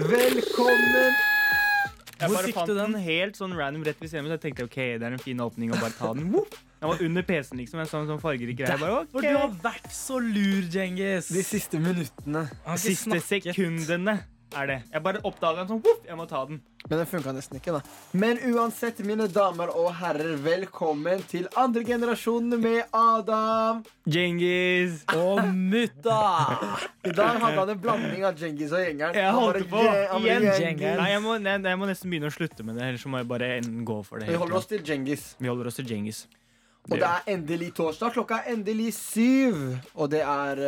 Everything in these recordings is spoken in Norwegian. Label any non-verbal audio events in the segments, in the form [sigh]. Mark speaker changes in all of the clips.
Speaker 1: Velkommen!
Speaker 2: Jeg
Speaker 3: Hvor
Speaker 2: bare
Speaker 3: fikk
Speaker 2: fant
Speaker 3: du den?
Speaker 2: den helt sånn random rett ved siden min. Så jeg tenkte ok, det er en fin åpning å bare ta den. Woof! Den var under PC-en, liksom. Jeg så en sånn fargerik greie. Jeg Bare,
Speaker 3: For du har
Speaker 2: ok.
Speaker 3: vært så lur, Djengis.
Speaker 1: De siste minuttene.
Speaker 3: Han har ikke
Speaker 2: Siste
Speaker 3: snakket.
Speaker 2: sekundene er det. Jeg bare oppdaga den sånn. Woof, jeg må ta den.
Speaker 1: Men den funka nesten ikke, da. Men uansett, mine damer og herrer, velkommen til andre generasjon med Adam.
Speaker 2: Djengis.
Speaker 3: Og mutta!
Speaker 1: I dag hadde han en blanding av Djengis og gjengeren.
Speaker 2: Jeg
Speaker 1: Han var
Speaker 2: holdt
Speaker 1: en
Speaker 2: på.
Speaker 1: gje- han var en
Speaker 2: Igjen
Speaker 1: gjeng.
Speaker 3: Djengis.
Speaker 2: Nei, jeg må, nei, jeg må nesten begynne å slutte med det, ellers så må jeg bare enten gå for det.
Speaker 1: Vi
Speaker 2: helt.
Speaker 1: holder oss til Djengis.
Speaker 2: Vi holder oss til Djengis.
Speaker 1: Og det er endelig torsdag. Klokka er endelig syv. Og det er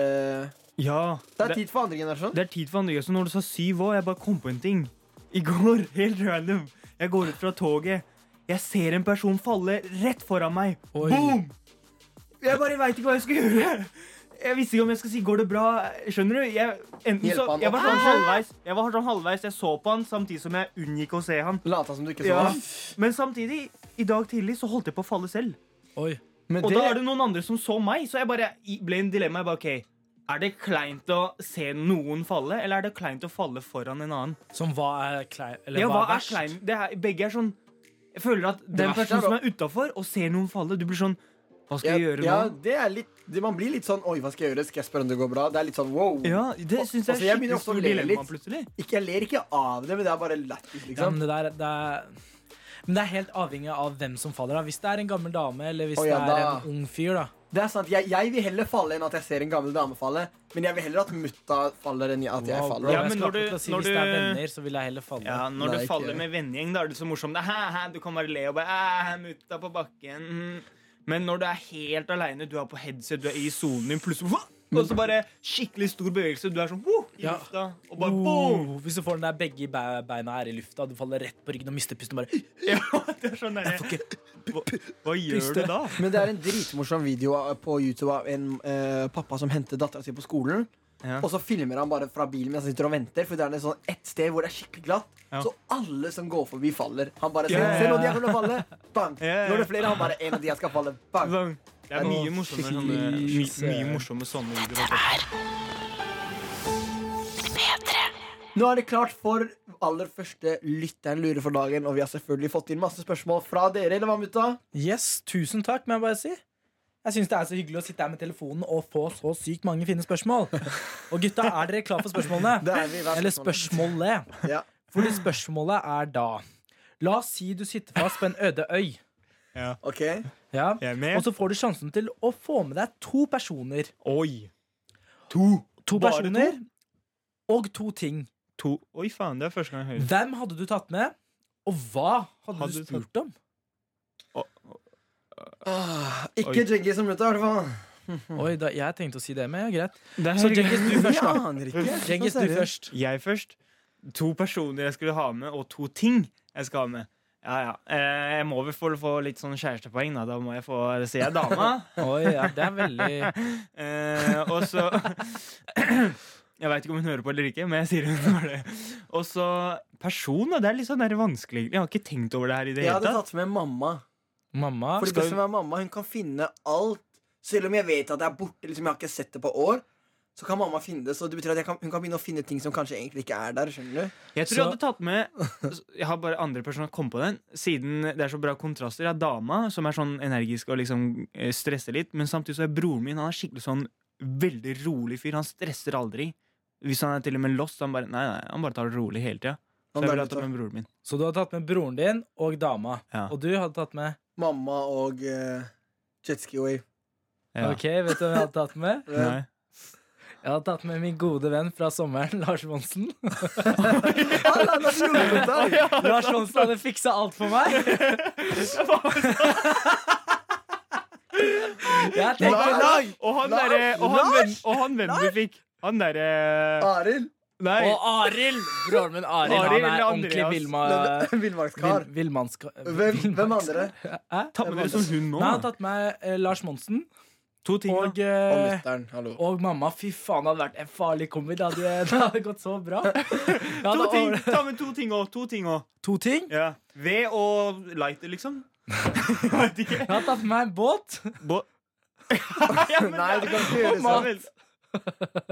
Speaker 1: eh,
Speaker 2: Ja.
Speaker 1: Det er tid for andre generasjon.
Speaker 2: Det er tid for andre gøy. Så når du sa syv år, jeg bare kom på en ting. I går, [laughs] helt random, jeg går ut fra toget. Jeg ser en person falle rett foran meg.
Speaker 3: Oi.
Speaker 2: Boom! Jeg bare veit ikke hva jeg skal gjøre. Jeg visste ikke om jeg skal si 'går det bra'? Skjønner du? Jeg, enten
Speaker 1: Hjelp
Speaker 2: så,
Speaker 1: han
Speaker 2: jeg, var
Speaker 1: opp.
Speaker 2: sånn halvveis, jeg var sånn halvveis. Jeg så på han samtidig som jeg unngikk å se han.
Speaker 1: Lata som du ikke så
Speaker 2: Ja.
Speaker 1: ham.
Speaker 2: Men samtidig, i dag tidlig så holdt jeg på å falle selv.
Speaker 3: Oi.
Speaker 1: Men
Speaker 2: Og
Speaker 1: det,
Speaker 2: da er det noen andre som så meg, så jeg bare i- ble i en dilemma. Jeg bare, ok, Er det kleint å se noen falle, eller er det kleint å falle foran en annen?
Speaker 3: Som hva er klein... Eller
Speaker 2: Ja,
Speaker 3: hva
Speaker 2: hva er
Speaker 3: verst?
Speaker 2: klein? Det er, begge er sånn Jeg føler at den
Speaker 1: verste er da-
Speaker 2: personen som er utafor og ser noen falle, du blir sånn Hva skal jeg
Speaker 1: ja,
Speaker 2: gjøre
Speaker 1: ja,
Speaker 2: nå?
Speaker 1: det er litt, det, man blir litt sånn Oi, hva skal jeg gjøre? Skal jeg spørre om det går bra? Det er litt sånn wow.
Speaker 2: Ja, det syns
Speaker 1: Altså,
Speaker 2: jeg
Speaker 1: jeg
Speaker 2: er
Speaker 1: begynner ofte
Speaker 2: skikkelig
Speaker 1: å
Speaker 2: stor
Speaker 1: le
Speaker 2: dilemma
Speaker 1: litt.
Speaker 2: plutselig.
Speaker 1: Ikke, jeg ler ikke av det, men det er bare lættis,
Speaker 3: Ja,
Speaker 1: liksom.
Speaker 3: men det der det er, men det er helt avhengig av hvem som faller. da Hvis det er en gammel dame, eller hvis
Speaker 1: Å, ja,
Speaker 3: det er
Speaker 1: da.
Speaker 3: en ung fyr, da.
Speaker 1: Det er sant, jeg, jeg vil heller falle enn at jeg ser en gammel dame falle. Men jeg vil heller at mutta faller enn at jeg
Speaker 3: Wow, bro,
Speaker 1: faller.
Speaker 2: Ja,
Speaker 3: jeg
Speaker 2: men
Speaker 3: skal
Speaker 2: når du-
Speaker 3: akkurat si,
Speaker 2: når
Speaker 3: hvis det er
Speaker 2: du-
Speaker 3: venner, så vil jeg heller falle.
Speaker 2: Ja, Når
Speaker 1: Nei,
Speaker 2: du faller
Speaker 1: ikke.
Speaker 2: med vennegjeng, da er det så morsomt. Det er, Hæ, hæ, du kan bare le og bare æ, Mutta på bakken. Men når du er helt aleine, du er på headset, du er i sonen din, plutselig hva? Og så bare skikkelig stor bevegelse. Du er sånn «Woo!» i
Speaker 3: Ja.
Speaker 2: lufta, og bare boom!
Speaker 3: Oh, hvis du får den der begge be- beina er i lufta, du faller rett på ryggen og mister pusten. bare
Speaker 2: Ja, det er sånn derre hva, hva gjør du
Speaker 3: Puste.
Speaker 2: da?
Speaker 1: Men det er en dritmorsom video av- på YouTube av en eh, pappa som henter dattera si på skolen.
Speaker 2: Ja.
Speaker 1: Og så filmer han bare fra bilen mens han sitter og venter. For det er en sånn ett sted hvor det er skikkelig glatt.
Speaker 2: Ja.
Speaker 1: Så alle som går forbi, faller. Han bare ser,
Speaker 2: Ja, ja, ja.
Speaker 1: ser når de er kommer til å falle. Bang.
Speaker 2: Ja, ja.
Speaker 1: Nå er det flere. Han bare en av de jeg skal falle. Bang.
Speaker 2: Sånn, Det er mye morsomme sånne, my, mye morsomme sånne videoer.
Speaker 1: Nå er det klart for aller første Lytteren lurer for dagen. Og vi har selvfølgelig fått inn masse spørsmål fra dere. Eller hva, mutta?
Speaker 3: Yes, tusen takk, må jeg bare si. Jeg syns det er så hyggelig å sitte her med telefonen og få så sykt mange fine spørsmål. Og gutta, er dere klar for spørsmålene?
Speaker 1: Det er vi. Hva er
Speaker 3: Eller
Speaker 1: spørsmålet?
Speaker 3: spørsmålet?
Speaker 1: Ja.
Speaker 3: Fordi spørsmålet er da La oss si du sitter fast på en øde øy.
Speaker 1: Ok.
Speaker 3: Ja.
Speaker 2: Jeg er
Speaker 3: Og
Speaker 2: med.
Speaker 3: så får du sjansen til å få med deg to personer.
Speaker 2: Oi. To.
Speaker 3: To
Speaker 2: Bare to?
Speaker 3: personer og to ting.
Speaker 2: to. Oi, faen. Det er første gang jeg hører
Speaker 3: Hvem hadde du tatt med, og hva hadde,
Speaker 2: Hadde
Speaker 3: du
Speaker 2: du tatt-
Speaker 3: spurt om?
Speaker 1: Ah, ikke Jeggy som mutta, i hvert fall.
Speaker 2: Hmm.
Speaker 3: Oi, da, jeg tenkte å si det, men ja, greit.
Speaker 2: det
Speaker 3: Så Djengis, du først,
Speaker 1: Jeg
Speaker 3: da.
Speaker 1: aner ikke.
Speaker 3: Djengis, du først.
Speaker 2: Jeg først. To personer jeg skulle ha med, og to ting jeg skal ha med. Ja, ja. Eh, Jeg må vel få, få litt sånn kjærestepoeng, da. Da må jeg få Se, jeg er dama.
Speaker 3: Oi, ja, det er veldig
Speaker 2: Eh, og så [clears throat] Jeg veit ikke om hun hører på eller ikke, men jeg sier hun gjør det. Og så person, da. Det er litt sånn der vanskelig. Jeg har ikke tenkt over det her i det
Speaker 1: Jeg
Speaker 2: hele
Speaker 1: hadde
Speaker 2: tatt.
Speaker 1: tatt med mamma.
Speaker 3: Mamma
Speaker 1: Fordi det
Speaker 3: skal
Speaker 1: som er mamma, hun kan finne alt. Selv om jeg vet at det er borte, liksom jeg har ikke sett det på år, så kan mamma finne det. Så det betyr at jeg kan, hun kan begynne å finne ting som kanskje egentlig ikke er der. skjønner du?
Speaker 2: Jeg tror
Speaker 3: Så-
Speaker 2: jeg hadde tatt med Jeg har bare andre personer kom på den Siden det er så bra kontraster Jeg har dama som er sånn energisk og liksom eh, stresser litt Men samtidig så er broren min Han er skikkelig sånn veldig rolig fyr Han stresser aldri Hvis han er til og med lost Han bare, nei, nei, han bare tar det rolig hele tiden Så
Speaker 1: Han
Speaker 2: jeg
Speaker 1: bare
Speaker 2: ville tatt
Speaker 1: tar-
Speaker 2: med broren min
Speaker 3: Så du har tatt med broren din og dama.
Speaker 2: Ja.
Speaker 3: Og du hadde tatt med
Speaker 1: Mamma og eh, jetski wave.
Speaker 2: ja.
Speaker 3: Ok, vet du hvem jeg hadde tatt med?
Speaker 1: [laughs]
Speaker 2: Nei.
Speaker 3: Jeg hadde tatt med min gode venn fra sommeren, [laughs] Lars Monsen.
Speaker 2: [laughs]
Speaker 1: Alla, da du Ah, gjorde det,
Speaker 3: [laughs]
Speaker 1: da.
Speaker 3: Lars Monsen hadde fiksa alt for meg.
Speaker 2: [laughs]
Speaker 3: Jeg
Speaker 1: Nei,
Speaker 3: tenker,
Speaker 1: nei.
Speaker 2: Og han
Speaker 1: Lars!
Speaker 2: derre- og han venn- Og han vennen du fikk Han derre
Speaker 1: Arild.
Speaker 2: Nei
Speaker 3: og Arild! Broren min Arild,
Speaker 2: Arild eh,
Speaker 3: han er
Speaker 2: eller
Speaker 3: ordentlig
Speaker 2: Andreas?
Speaker 3: Vilma...
Speaker 1: Villmarkskar.
Speaker 3: vil- Villmannska...
Speaker 1: Hvem, hvem andre?
Speaker 3: Hæ?
Speaker 2: Ta med dere som hun nå
Speaker 3: Nei, han har tatt med eh, Lars Monsen
Speaker 2: To ting da
Speaker 3: og, eh,
Speaker 1: lytteren. Hallo.
Speaker 3: og mamma. Fy faen, det hadde vært en farlig kombi. Det hadde, det hadde gått så
Speaker 2: [laughs]
Speaker 3: bra. Jeg
Speaker 2: To
Speaker 3: hadde
Speaker 2: ting,
Speaker 3: over-
Speaker 2: ta med to ting også To ting også
Speaker 3: to ting.
Speaker 2: Ja. Ved og lighter, liksom? Jeg vet ikke.
Speaker 3: Jeg har tatt med meg en båt.
Speaker 2: Bo
Speaker 1: Nei, du kan ikke
Speaker 2: og
Speaker 1: gjøre
Speaker 2: mat.
Speaker 1: sånn.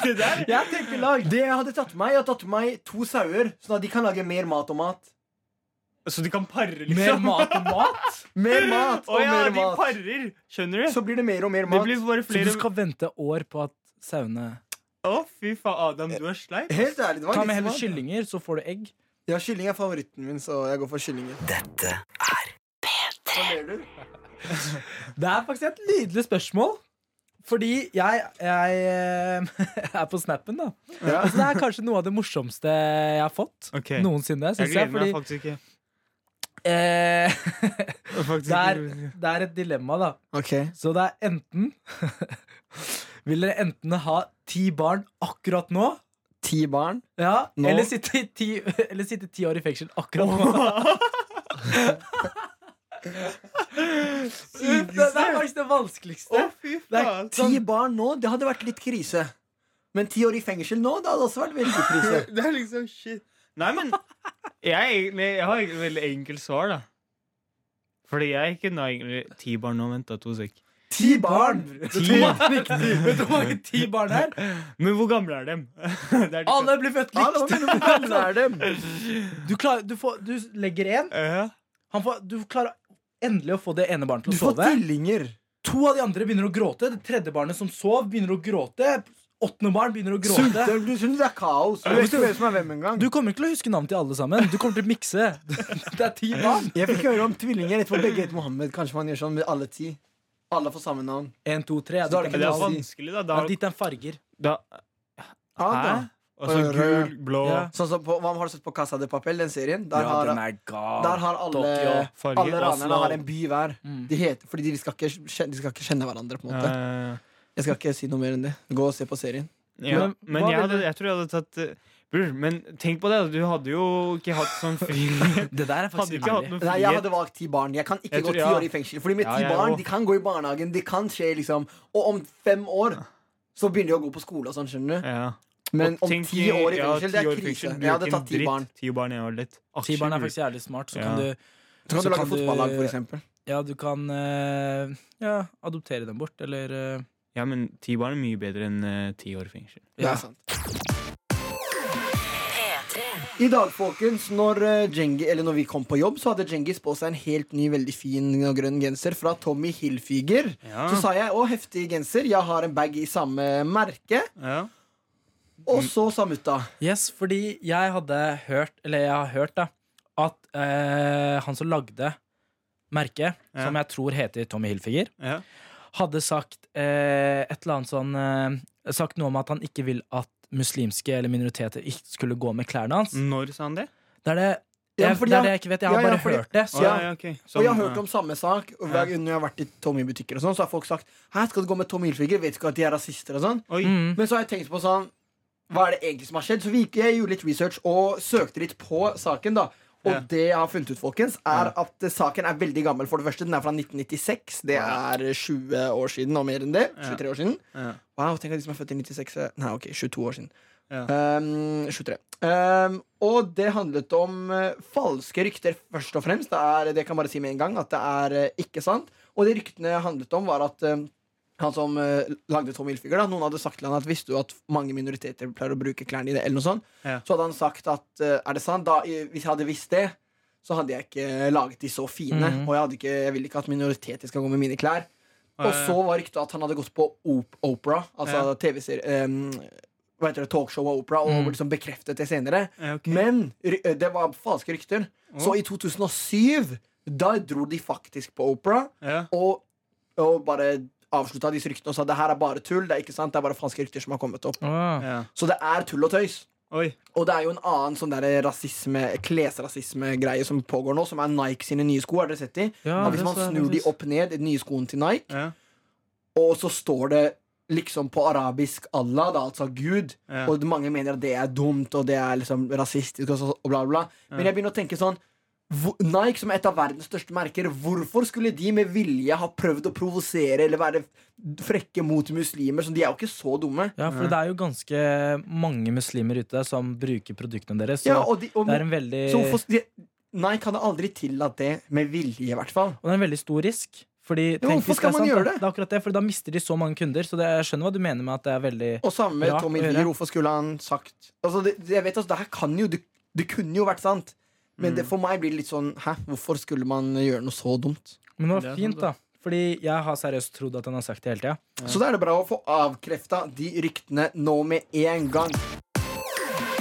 Speaker 2: [laughs] Det der?
Speaker 3: Jeg tenker lag.
Speaker 1: Det jeg hadde tatt med meg, jeg hadde tatt med meg to sauer, sånn at de kan lage mer mat og mat.
Speaker 2: Så de kan pare,
Speaker 3: Mer
Speaker 2: liksom?
Speaker 3: mat og mat.
Speaker 1: Mer mat
Speaker 2: Å
Speaker 1: og
Speaker 2: ja,
Speaker 1: mer
Speaker 2: de
Speaker 1: mat.
Speaker 2: parer! Skjønner du?
Speaker 1: Så blir det mer og mer
Speaker 2: det
Speaker 1: mat.
Speaker 2: blir bare
Speaker 3: Så du
Speaker 2: [laughs] flere Å,
Speaker 3: skal vente år på at sauene
Speaker 2: fy faen, Adam, du er sleip.
Speaker 1: Helt ærlig, det var
Speaker 3: Ta med
Speaker 1: litt
Speaker 3: heller
Speaker 1: smart.
Speaker 3: kyllinger, så får du egg.
Speaker 1: Ja, kylling er favoritten min, så jeg går for kyllingen. Dette er P3.
Speaker 3: Det er faktisk et nydelig spørsmål. Fordi jeg, jeg eh, [laughs] er på snappen, da.
Speaker 1: Ja.
Speaker 3: Altså, det er kanskje noe av det morsomste jeg har fått
Speaker 2: Ok.
Speaker 3: noensinne.
Speaker 2: Jeg
Speaker 3: Synes jeg,
Speaker 2: gleder meg
Speaker 3: fordi,
Speaker 2: faktisk ikke.
Speaker 3: eh, [laughs]
Speaker 2: Faktisk
Speaker 3: Der.
Speaker 2: ikke.
Speaker 3: det er et dilemma, da.
Speaker 1: Ok.
Speaker 3: Så det er enten [laughs] Vil dere enten ha ti barn akkurat nå?
Speaker 1: Ti barn.
Speaker 3: Ja,
Speaker 1: Nå?
Speaker 3: Eller, sitte i ti, [laughs] eller sitte ti år i fengsel akkurat nå. Det, det er faktisk
Speaker 2: [laughs]
Speaker 3: det
Speaker 2: Å,
Speaker 3: vanskeligste.
Speaker 2: fy
Speaker 3: Det er
Speaker 2: faen.
Speaker 1: Ti barn nå, det hadde vært litt krise. Men ti år i fengsel nå, det hadde også vært veldig krise.
Speaker 2: Det er liksom shit. Nei, men jeg, er egentlig, jeg har et veldig enkelt svar, da. Fordi jeg er ikke noe egentlig ti barn nå. Vent, da, to sek.
Speaker 1: Ti barn!
Speaker 3: Vet du hvor mange- vet du hvor mange ti barn det er?
Speaker 2: Men hvor gamle er dem? [laughs] Det er de-
Speaker 3: Alle blir født
Speaker 1: Ja, det
Speaker 3: likt.
Speaker 1: var mellom gamle er dem.
Speaker 3: [laughs] Du, klarer, du, får, du legger én.
Speaker 2: Eh, Ja.
Speaker 3: Han får, du klarer endelig å få det ene barnet til
Speaker 1: Du
Speaker 3: å
Speaker 1: får
Speaker 3: sove.
Speaker 1: tvillinger.
Speaker 3: To av de andre begynner å gråte. Det tredje barnet som sov, begynner å gråte. Åttende barn begynner å
Speaker 1: Sulter.
Speaker 3: gråte.
Speaker 1: Du skjønner, det er kaos. Du vet ikke hvem som er hvem engang.
Speaker 3: Du kommer ikke til å huske navnet til alle sammen. Du kommer til å mikse. [laughs] Det er ti barn.
Speaker 1: Jeg fikk høre om tvillinger. Jeg tror begge heter Mohammed. Kanskje man gjør sånn med alle ti. Alle får samme navn.
Speaker 3: En, to, tre.
Speaker 1: Så da er det
Speaker 2: Men det
Speaker 1: ikke
Speaker 2: er
Speaker 3: Ja,
Speaker 1: lov.
Speaker 2: vanskelig, da. da,
Speaker 3: Ditt er farger.
Speaker 2: da
Speaker 1: Ja,
Speaker 2: hæ?
Speaker 1: da.
Speaker 2: Og så gul, blå
Speaker 3: Ja.
Speaker 1: Sånn som på, hva Har du sett på Casa de Papel, den serien? Der
Speaker 3: Ja, den
Speaker 1: har,
Speaker 3: er gal.
Speaker 1: der har
Speaker 3: Tokyo.
Speaker 1: alle
Speaker 2: farge.
Speaker 1: Alle ranerne
Speaker 3: Oslo.
Speaker 1: har en by hver.
Speaker 3: Mm.
Speaker 1: De heter, fordi de skal, ikke, kjen- de skal ikke kjenne hverandre. på en måte
Speaker 2: Eh,
Speaker 1: Jeg skal ikke si noe mer enn det. Gå og se på serien.
Speaker 2: Ja,
Speaker 3: Men
Speaker 2: men,
Speaker 3: hva
Speaker 2: jeg,
Speaker 3: ville-
Speaker 2: hadde, jeg tror jeg hadde tatt eh, Bror, men tenk på det, du hadde jo ikke hatt [laughs] sånn fri
Speaker 3: Det der er
Speaker 2: Hadde
Speaker 3: faktisk
Speaker 2: ikke hatt
Speaker 3: ærlig.
Speaker 2: noen
Speaker 1: Nei, Jeg hadde
Speaker 2: frihet.
Speaker 1: valgt ti barn. Jeg kan ikke
Speaker 2: Jeg
Speaker 1: gå
Speaker 2: tror-
Speaker 1: ti
Speaker 2: ja.
Speaker 1: år i fengsel. Fordi med
Speaker 2: Ja,
Speaker 1: ti
Speaker 2: jeg
Speaker 1: barn
Speaker 2: også.
Speaker 1: de kan gå i barnehagen, de kan skje, liksom. Og om fem år så begynner de å gå på skole og sånn, skjønner du.
Speaker 2: Ja.
Speaker 1: Men
Speaker 2: Og
Speaker 1: om
Speaker 2: tenk
Speaker 1: ti år i
Speaker 2: ja,
Speaker 1: fengsel, det
Speaker 2: ti
Speaker 1: er
Speaker 2: år i
Speaker 1: krise.
Speaker 2: fengsel, du
Speaker 1: Jeg
Speaker 2: gjør
Speaker 1: hadde
Speaker 2: ikke en
Speaker 1: tatt ti
Speaker 2: dritt.
Speaker 1: barn.
Speaker 2: Ti barn er jo litt
Speaker 3: Ti barn er
Speaker 2: Aksjer.
Speaker 3: faktisk jævlig smart. Så
Speaker 2: Ja.
Speaker 3: kan du
Speaker 1: Så kan
Speaker 3: Så
Speaker 1: du lage
Speaker 3: kan du-
Speaker 1: fotballag, for eksempel.
Speaker 3: Ja, du kan eh, ja, adoptere dem bort, eller eh,
Speaker 2: Ja, men ti barn er mye bedre enn eh, ti år i fengsel.
Speaker 1: Det
Speaker 3: ja.
Speaker 1: er sant. I dag, folkens, når, eh, Jengi, eller når vi kom på jobb, så hadde Djengis på seg en helt ny, veldig fin og grønn genser fra Tommy Hilfiger.
Speaker 2: Ja.
Speaker 1: Så sa jeg å, heftig genser. Jeg har en bag i samme merke.
Speaker 2: Ja.
Speaker 1: Og så sa mutta
Speaker 3: Yes, fordi jeg hadde hørt, eller jeg har hørt, da, at eh, han som lagde merket,
Speaker 2: Ja.
Speaker 3: som jeg tror heter Tommy Hilfiger,
Speaker 2: Ja.
Speaker 3: hadde sagt eh, et eller annet sånn eh, Sagt noe om at han ikke vil at muslimske eller minoriteter ikke skulle gå med klærne hans.
Speaker 2: Når sa han det?
Speaker 3: Det er det, det,
Speaker 1: Mm. Ja,
Speaker 3: er-
Speaker 1: fordi
Speaker 3: det er
Speaker 1: jeg-
Speaker 3: det jeg ikke vet. Jeg
Speaker 1: Ja,
Speaker 3: har
Speaker 1: ja,
Speaker 3: bare
Speaker 1: fordi-
Speaker 3: hørt det.
Speaker 1: Så
Speaker 2: Å, ja,
Speaker 1: jeg-
Speaker 2: ja, ok.
Speaker 1: Og
Speaker 2: Sånn,
Speaker 1: jeg har hørt
Speaker 2: ja.
Speaker 1: om samme sak. Og hver gang jeg har vært i Tommy-butikker, og sånn, så har folk sagt Hæ, skal du gå med Tommy Hilfiger. Vet du ikke at de er rasister og sånn.
Speaker 2: Oi.
Speaker 3: Mm.
Speaker 1: Men så har jeg tenkt på sånn Hva er det egentlig som har skjedd? Så vi gikk, jeg gjorde litt research og søkte litt på saken, da. Og
Speaker 2: Ja.
Speaker 1: det jeg har funnet ut, folkens, er at eh, saken er veldig gammel. For det første, Den er fra 1996. Det er eh, 20 år siden, og mer enn det.
Speaker 2: Ja.
Speaker 1: 23 år siden.
Speaker 2: Ja.
Speaker 1: Wow, tenk at de som er født i 96 er- Nei, ok, 22 år siden.
Speaker 2: Ja.
Speaker 1: Ehm, 23. Ehm, og det handlet om eh, falske rykter, først og fremst. Det, er, det kan jeg bare si med en gang at det er eh, ikke sant. Og det ryktene handlet om, var at eh, han som eh, lagde Tom Hilfiger, da, noen hadde sagt til han at visste du at mange minoriteter pleier å bruke klærne dine, eller noe sånt,
Speaker 2: Ja.
Speaker 1: så hadde han sagt at eh, er det sant? Da, eh, hvis jeg hadde visst det, så hadde jeg ikke laget de så fine.
Speaker 3: Mhm.
Speaker 1: Og jeg, hadde ikke, jeg vil ikke at minoriteter skal gå med mine klær. Og så var ryktet at han hadde gått på Op Opera, altså
Speaker 2: Ja.
Speaker 1: TV-serie um, Hva heter det, talkshow av Opera, og
Speaker 3: Mm.
Speaker 1: liksom bekreftet det senere.
Speaker 2: Ja, ok.
Speaker 1: Men ry- eh, det var falske rykter.
Speaker 2: Å.
Speaker 1: Så i 2007, da dro de faktisk på Opera
Speaker 2: ja.
Speaker 1: og, og bare avslutta disse ryktene og sa det her er bare tull. Det er ikke sant, det er bare falske rykter som har kommet opp.
Speaker 3: Ah.
Speaker 2: Ja.
Speaker 1: Så det er tull og tøys.
Speaker 2: Oi.
Speaker 1: Og det er jo en annen sånn der rasisme, klesrasisme-greie som pågår nå, som er Nike sine nye sko. Har dere sett de?
Speaker 3: Ja,
Speaker 1: At
Speaker 3: det
Speaker 1: hvis man
Speaker 3: så jeg
Speaker 1: snur de
Speaker 3: faktisk.
Speaker 1: opp ned, de nye skoene til Nike
Speaker 2: Ja.
Speaker 1: og så står det liksom på arabisk Allah, da, altså Gud.
Speaker 2: Ja.
Speaker 1: Og mange mener at det er dumt, og det er liksom rasistisk, og, så, og bla, bla. bla. Men
Speaker 2: Ja.
Speaker 1: jeg begynner å tenke sånn hvor- Nike, som er et av verdens største merker, hvorfor skulle de med vilje ha prøvd å provosere eller være frekke mot muslimer? Så de er jo ikke så dumme.
Speaker 3: Ja, for det er jo ganske mange muslimer ute som bruker produktene deres. Så
Speaker 1: Ja, og de, og,
Speaker 3: det er en veldig
Speaker 1: så hvorfor- de, Nike hadde aldri tillatt det med vilje, i hvert fall.
Speaker 3: Og det er en veldig stor risk. Fordi,
Speaker 1: Jo,
Speaker 3: tenk
Speaker 1: hvorfor
Speaker 3: hvis
Speaker 1: skal
Speaker 3: er
Speaker 1: man
Speaker 3: sant,
Speaker 1: gjøre
Speaker 3: da.
Speaker 1: det?
Speaker 3: Det er akkurat det, for da mister de så mange kunder. Så det, jeg skjønner hva du mener med at det er veldig
Speaker 1: Og samme med
Speaker 3: Ja,
Speaker 1: Tommy
Speaker 3: å gjøre.
Speaker 1: Lee. Hvorfor skulle han sagt altså, det, det- jeg vet, altså, det her kan jo det, det kunne jo vært sant. Men
Speaker 3: Mm.
Speaker 1: det, for meg blir det litt sånn Hæ, hvorfor skulle man gjøre noe så dumt?
Speaker 3: Men det
Speaker 2: Det
Speaker 3: var
Speaker 2: er sant,
Speaker 3: fint, da. Fordi jeg har seriøst trodd at han har sagt det hele tida.
Speaker 1: Så da er det bra å få avkrefta de ryktene nå med en gang.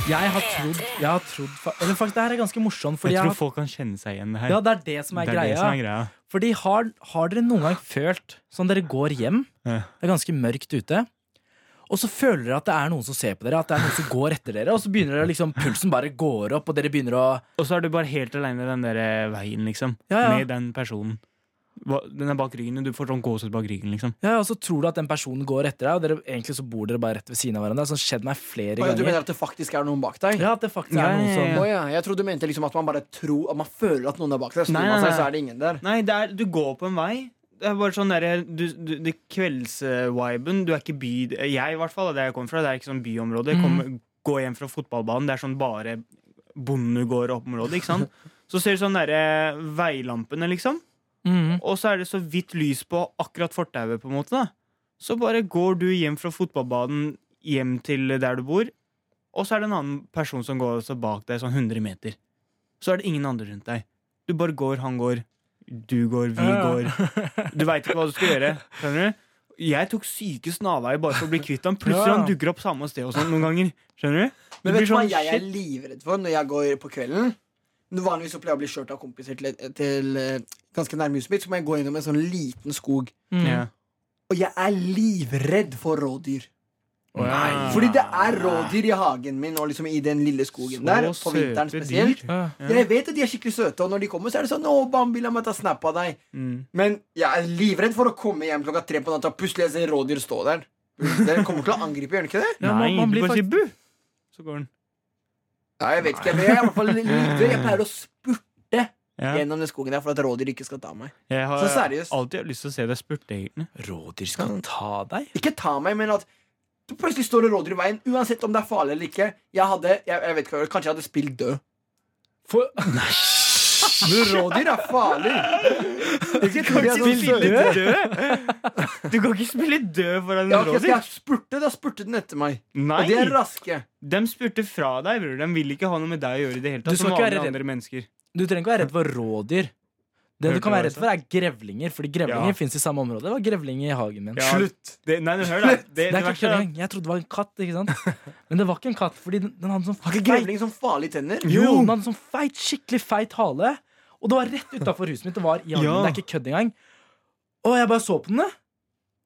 Speaker 3: Jeg har trodd, jeg har trodd fa- Eller faktisk, det her er ganske morsomt,
Speaker 2: Jeg
Speaker 3: fordi jeg
Speaker 2: tror
Speaker 3: har,
Speaker 2: folk kan kjenne seg igjen i det her.
Speaker 3: ja, det er det som er
Speaker 2: det er
Speaker 3: greia.
Speaker 2: det som er greia.
Speaker 3: Fordi har, har dere noen gang følt sånn dere går hjem,
Speaker 2: Ja.
Speaker 3: det er ganske mørkt ute, og så føler dere at det er noen som ser på dere, at det er noen som går etter dere, og så begynner dere liksom, pulsen bare går opp, og dere begynner å
Speaker 2: Og så er du bare helt aleine den der veien, liksom.
Speaker 3: Ja, ja.
Speaker 2: Med den personen. Hva- Den er bak ryggen, og du får sånn gåsehud bak ryggen, liksom.
Speaker 3: Ja, og så tror du at den personen går etter deg, og dere, egentlig så bor dere bare rett ved siden av hverandre. Det har sånn skjedd meg flere
Speaker 1: Å, ja, du
Speaker 3: ganger.
Speaker 1: mener at det faktisk er noen bak deg?
Speaker 3: Ja, at det faktisk
Speaker 2: Ja,
Speaker 3: er
Speaker 2: ja,
Speaker 3: noen som
Speaker 1: Å ja, jeg trodde du mente liksom at man bare tror At man føler at noen er bak deg. Så
Speaker 2: Nei,
Speaker 1: snur man
Speaker 2: nei,
Speaker 1: seg,
Speaker 2: nei.
Speaker 1: så er det ingen der.
Speaker 2: Nei, det er, du går på en vei. Det er bare sånn der, du, du, det kveldsviben. Du er ikke by... Jeg, i hvert fall, der jeg kommer fra, det er ikke sånn byområde. Jeg kommer- Gå hjem fra fotballbanen, det er sånn bare bondegårdområde, ikke [laughs] sant? Så ser du sånn derre veilampene, liksom.
Speaker 3: Mhm.
Speaker 2: Og så er det så vidt lys på akkurat fortauet, på en måte. da Så bare går du hjem fra fotballbanen hjem til der du bor, og så er det en annen person som går også bak deg, sånn 100 meter. Så er det ingen andre rundt deg. Du bare går, han går, du går, vi
Speaker 3: Ja, [laughs] ja.
Speaker 2: går. Du veit ikke hva du skal gjøre. Skjønner du? Jeg tok syke snarveier bare for å bli kvitt ham. Plutselig
Speaker 3: Ja.
Speaker 2: han dukker opp samme sted og sånn noen ganger. Skjønner du? Du
Speaker 1: Men vet
Speaker 2: blir
Speaker 1: du hva
Speaker 2: sånn,
Speaker 1: jeg er
Speaker 2: shit.
Speaker 1: livredd for når jeg går på kvelden? Vanligvis så pleier jeg å bli kjørt av kompiser til, til eh, ganske nærme huset mitt, så må jeg gå innom en sånn liten skog.
Speaker 3: Mhm.
Speaker 2: Ja.
Speaker 1: Og jeg er livredd for rådyr.
Speaker 2: Nei.
Speaker 1: Fordi det er rådyr i hagen min og liksom i den lille skogen der. På
Speaker 2: Så
Speaker 1: vinteren
Speaker 2: søte dyr.
Speaker 1: spesielt.
Speaker 3: Ja.
Speaker 2: Ja.
Speaker 1: Jeg vet at de er skikkelig søte, og når de kommer, så er det sånn Å, Bambi, la meg ta snap av deg.
Speaker 2: Mm.
Speaker 1: Men jeg er livredd for å komme hjem klokka tre på natta, og plutselig jeg ser rådyr stå der. Dere kommer til å angripe, gjør dere ikke det?
Speaker 3: Ja, man-
Speaker 2: Nei,
Speaker 3: man
Speaker 2: du
Speaker 3: blir
Speaker 2: bare sier
Speaker 3: faktisk-
Speaker 2: bu! Så går den.
Speaker 1: Nei, jeg vet ikke. Men jeg, er i hvert fall livredd. jeg pleier å spurte
Speaker 2: Ja.
Speaker 1: gjennom den skogen der for at rådyr ikke skal ta meg.
Speaker 2: Jeg har
Speaker 1: Så seriøst.
Speaker 2: alltid hatt lyst til å se deg spurte, egentlig.
Speaker 3: Rådyr skal ta deg?
Speaker 1: Ikke ta meg, men at du plutselig står det rådyr i veien, uansett om det er farlig eller ikke. Jeg hadde, jeg, jeg vet ikke, hva jeg gjorde. Kanskje jeg hadde spilt død.
Speaker 3: For,
Speaker 1: Men rådyr er farlig. Ikke tro de er sånn
Speaker 2: Spille
Speaker 1: søte.
Speaker 2: død? Du kan ikke spille død foran
Speaker 1: Ja,
Speaker 2: en
Speaker 1: ok, skal
Speaker 2: rådyr.
Speaker 1: jeg spurte, da spurte den etter meg.
Speaker 2: Nei!
Speaker 1: Og de er raske.
Speaker 2: De spurte fra deg, bror. De vil ikke ha noe med deg å gjøre i det hele
Speaker 3: Du
Speaker 2: tatt.
Speaker 3: skal
Speaker 2: Som
Speaker 3: ikke være
Speaker 2: alle
Speaker 3: redd.
Speaker 2: andre mennesker.
Speaker 3: du trenger ikke være redd for rådyr. Det du
Speaker 2: Hørte
Speaker 3: kan
Speaker 2: hva
Speaker 3: være
Speaker 2: jeg
Speaker 3: redd for, er grevlinger, fordi grevlinger
Speaker 2: Ja.
Speaker 3: finnes i samme område. Det var grevling i hagen min.
Speaker 2: Ja,
Speaker 1: Slutt.
Speaker 2: Det, nei, men hør, da. Det,
Speaker 3: Det
Speaker 2: det
Speaker 3: er ikke
Speaker 2: verste er at-
Speaker 3: grevling. Jeg trodde det var en katt, ikke sant? [laughs] Men det var ikke en katt, fordi den, den hadde sånn
Speaker 1: Har ikke grevling sånn farlige tenner?
Speaker 3: Jo, den hadde sånn feit, skikkelig feit hale. Og det var rett utafor huset mitt. Det [laughs] var i hagen,
Speaker 2: Ja.
Speaker 3: det er ikke kødd engang. Og jeg bare så på den, da.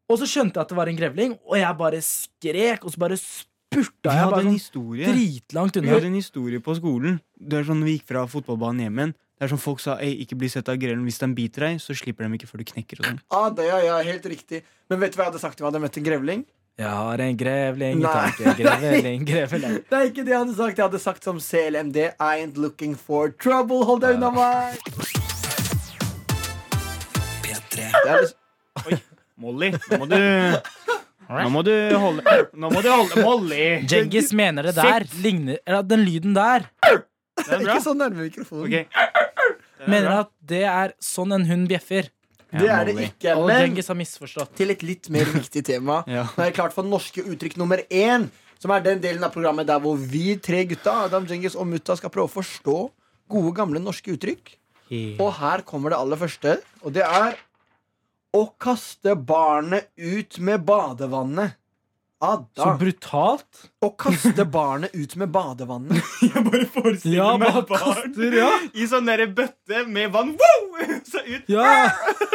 Speaker 3: og så skjønte jeg at det var en grevling, og jeg bare skrek, og så bare
Speaker 2: Vi
Speaker 3: spurta jeg
Speaker 2: hadde
Speaker 3: bare
Speaker 2: en
Speaker 3: sånn
Speaker 2: historie.
Speaker 3: dritlangt
Speaker 2: Vi
Speaker 3: unna.
Speaker 2: hadde en historie på skolen. Det er sånn Vi gikk fra fotballbanen hjem igjen. Det er sånn folk sa Ei, ikke bli sett av grellen. Hvis de biter deg, så slipper de ikke før du knekker. Og sånn.
Speaker 1: Ah, det er ja, helt riktig. Men vet du hva jeg hadde sagt om jeg hadde møtt en grevling?
Speaker 3: Jeg har en grevling i
Speaker 1: Nei.
Speaker 3: taket, [laughs] grevling, grevling.
Speaker 1: Det er ikke det jeg hadde sagt. Jeg hadde sagt som CLMD. I ain't looking for trouble. Hold deg unna meg. Det er liksom-
Speaker 2: Molly, nå må du Nå må du holde Nå må du holde Molly!
Speaker 3: Djengis mener det der ligner Eller at den lyden der
Speaker 2: Det er bra.
Speaker 1: Ikke så nærme mikrofonen.
Speaker 2: Ok.
Speaker 3: mener at det er sånn en hund bjeffer.
Speaker 1: Det er det ikke.
Speaker 3: Og
Speaker 1: Men
Speaker 3: Djengis har misforstått.
Speaker 1: til et litt mer viktig tema.
Speaker 2: [laughs] Ja.
Speaker 1: Nå er det klart for norske uttrykk nummer én, som er den delen av programmet der hvor vi tre gutta, Adam, Djengis og Mutta, skal prøve å forstå gode, gamle norske uttrykk. Og her kommer det aller første, og det er å kaste barnet ut med badevannet.
Speaker 3: Så
Speaker 1: Ada.
Speaker 3: brutalt.
Speaker 1: Å kaste barnet ut med badevannet.
Speaker 2: Jeg bare forestiller
Speaker 3: Ja,
Speaker 2: meg
Speaker 3: bare
Speaker 2: barn
Speaker 3: kaster, ja.
Speaker 2: i sånn derre bøtte med vann. Wow! Så ut,
Speaker 3: Ja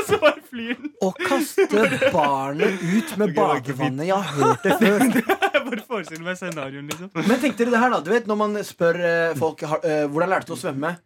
Speaker 2: så bare flyr den.
Speaker 1: Å kaste barnet ut med
Speaker 2: det var ikke fint.
Speaker 1: badevannet. Jeg har hørt det før.
Speaker 2: Jeg bare forestiller meg scenarioen, liksom.
Speaker 1: Men tenk dere det her da, du vet Når man spør eh, folk har, eh, hvordan lærte du å svømme,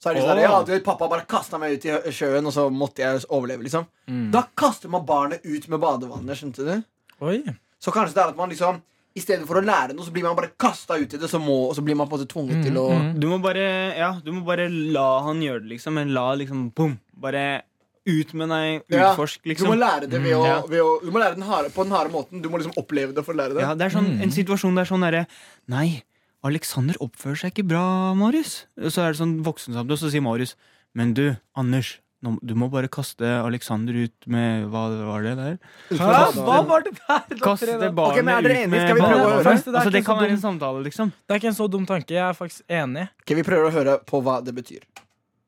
Speaker 1: så er de sånn
Speaker 2: Åh.
Speaker 1: Ja, du vet, pappa bare kasta meg ut i hø- sjøen, og så måtte jeg overleve, liksom.
Speaker 2: Mm.
Speaker 1: Da kaster man barnet ut med badevannet, skjønte du?
Speaker 3: Oi.
Speaker 1: Så kanskje det er at man liksom i stedet for å lære noe, så blir man bare kasta ut i det, så må, og så blir man på en måte tvunget til å
Speaker 3: mm.
Speaker 2: Du må bare ja, du må bare la han gjøre det, liksom. Men la liksom bom. Bare ut med deg.
Speaker 1: Ja.
Speaker 2: Utforsk,
Speaker 1: Du må
Speaker 2: liksom.
Speaker 1: lære det ved å,
Speaker 2: ja.
Speaker 1: ved å Du må lære den harde, på den harde måten. Du må liksom oppleve det for å lære det.
Speaker 2: Ja, det er sånn, en situasjon der sånn derre Nei, Alexander oppfører seg ikke bra, Marius. Og Så er det sånn voksensamtale, og så sier Marius Men du, Anders, nå, Du må bare kaste Alexander ut med Hva var det der?
Speaker 3: Hæ? Hva var det der? Det var tre
Speaker 2: Kaste
Speaker 3: da.
Speaker 1: Ok,
Speaker 2: barnet
Speaker 1: men er dere
Speaker 2: ut
Speaker 1: enige?
Speaker 2: med
Speaker 1: Skal vi prøve å
Speaker 2: barnet.
Speaker 1: høre?
Speaker 2: Altså, altså, Det kan være en samtale, liksom.
Speaker 3: Det er ikke en så dum tanke. Jeg er faktisk enig.
Speaker 1: Ok, Vi prøver å høre på hva det betyr.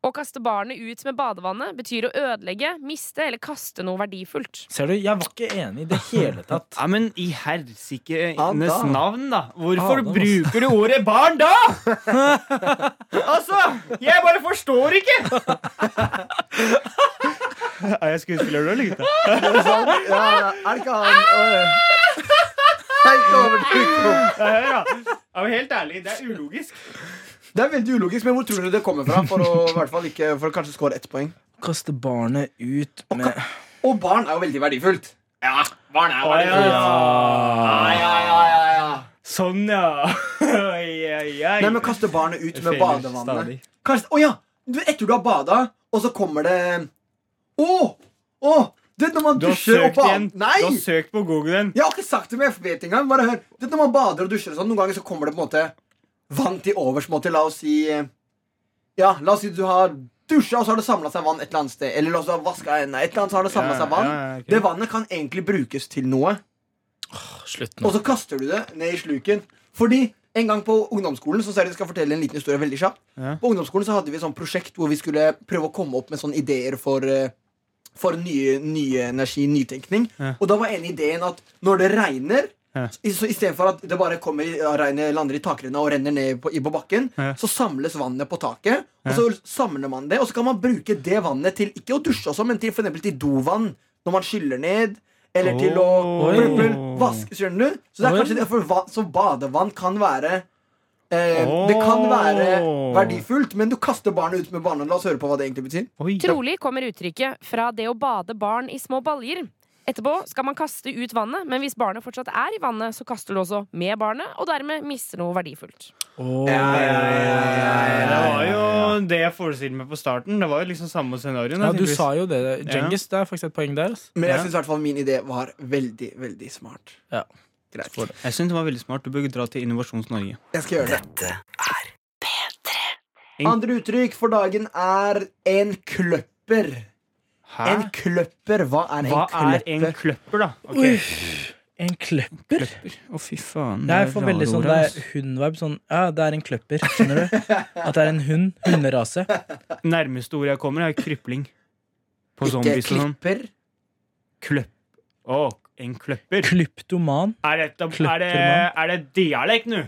Speaker 4: Å kaste barnet ut med badevannet betyr å ødelegge, miste eller kaste noe verdifullt.
Speaker 3: Ser du, Jeg var ikke enig i det hele tatt.
Speaker 2: Ja, men i helsikenes
Speaker 1: Adam.
Speaker 2: navn, Ah, da. Hvorfor
Speaker 3: Adam, ass.
Speaker 2: bruker du ordet barn [laughs] da?! altså! Jeg bare forstår ikke! [laughs] Er jeg skuespiller nå, eller gutta?
Speaker 1: Er det sant? Ja, ja. er det ikke han [laughs] Oi. Nei, ikke over til mikrofonen.
Speaker 2: Ja, hør, da. Ja, men helt ærlig, det er ulogisk.
Speaker 1: Det er veldig ulogisk, men hvor tror dere det kommer fra? For å, i hvert fall ikke, for å kanskje score ett poeng.
Speaker 3: [laughs] Kaste barnet ut med
Speaker 1: Og barn er jo veldig verdifullt. Ja, barn er
Speaker 2: ja. Sånn, ja. [laughs] Oi, oi, oi.
Speaker 1: Nei, men kaste barnet ut
Speaker 2: Jeg
Speaker 1: med
Speaker 2: feiler
Speaker 1: badevannet.
Speaker 2: stadig.
Speaker 1: Kaste, å ja! Du, etter du har bada, og så kommer det Å! å du vet når man
Speaker 2: Du har
Speaker 1: dusjer og
Speaker 2: søkt
Speaker 1: bader
Speaker 2: igjen.
Speaker 1: Nei!
Speaker 2: Du har søkt på Google.
Speaker 1: Jeg har ikke sagt det, men jeg vet engang. Bare hør. Du vet når man bader og dusjer og sånn, noen ganger så kommer det på en måte vann til overs. på en måte. La oss si eh, Ja, la oss si du har dusja, og så har det samla seg vann et eller annet sted. Eller la oss si du har vaska hendene, et eller annet, så har det samla
Speaker 2: Ja,
Speaker 1: seg vann.
Speaker 2: ja, ja, ok.
Speaker 1: Det vannet kan egentlig brukes til noe.
Speaker 3: Slutt
Speaker 1: Og så kaster du det ned i sluken. Fordi en gang på ungdomsskolen Så ser jeg at jeg skal fortelle en liten historie veldig kjapt.
Speaker 2: Ja.
Speaker 1: På ungdomsskolen så hadde vi et sånt prosjekt hvor vi skulle prøve å komme opp med sånne ideer for eh, For nye, nye energi, nytenkning.
Speaker 2: Ja.
Speaker 1: Og da var en ideen at når det regner
Speaker 2: Ja.
Speaker 1: i- Så Istedenfor at det bare kommer, i- regnet lander i takrenna og renner ned på, i- på bakken,
Speaker 2: Ja.
Speaker 1: så samles vannet på taket.
Speaker 2: Ja.
Speaker 1: Og så samler man det, og så kan man bruke det vannet til ikke å dusje også, men til for eksempel til dovann når man skyller ned. Eller til å
Speaker 2: Oi.
Speaker 1: blubb, blubb, vaske, skjønner du? Så det er
Speaker 3: Oi.
Speaker 1: kanskje derfor va- Så badevann kan være eh,
Speaker 2: Åh.
Speaker 1: Det kan være verdifullt, men du kaster barnet ut med barnet. La oss høre på hva det egentlig betyr.
Speaker 2: Oi.
Speaker 4: Trolig kommer uttrykket fra det å bade barn i små baljer. Etterpå skal man kaste ut vannet, men hvis barnet fortsatt er i vannet, så kaster du også med barnet, og dermed mister noe verdifullt.
Speaker 2: Nei, Det var jo det jeg forestilte meg på starten. Det var jo liksom samme scenario.
Speaker 3: Ja, du sa jo det. Djengis, det er faktisk et poeng der. ass.
Speaker 1: Men
Speaker 2: Ja.
Speaker 1: jeg syns i hvert fall min idé var veldig, veldig smart.
Speaker 3: Ja.
Speaker 1: Greit.
Speaker 2: Jeg synes det var veldig smart. Du bør dra til Innovasjons Norge.
Speaker 1: Jeg skal gjøre det. Andre uttrykk for dagen er en kløpper.
Speaker 2: Hæ?
Speaker 1: En kløpper. Hva er en
Speaker 2: Hva er
Speaker 1: kløpper?
Speaker 2: en kløpper, da? Ok.
Speaker 3: Uff, En kløpper?
Speaker 2: Kløpper. Å, fy faen.
Speaker 3: Jeg får veldig sånn Det
Speaker 2: rare
Speaker 3: er hundverb. Sånn, ja, det er en kløpper. Skjønner du? At det er en hund. Hunderase.
Speaker 2: ord, ass. Nærmeste ord jeg kommer, er krypling. På
Speaker 1: Ikke
Speaker 2: zombies og sånn.
Speaker 1: klipper.
Speaker 2: Kløpp. Å, en kløpper.
Speaker 3: Klyptoman.
Speaker 2: Er det, er det,
Speaker 3: Kløppermann.
Speaker 2: er det dialekt nå?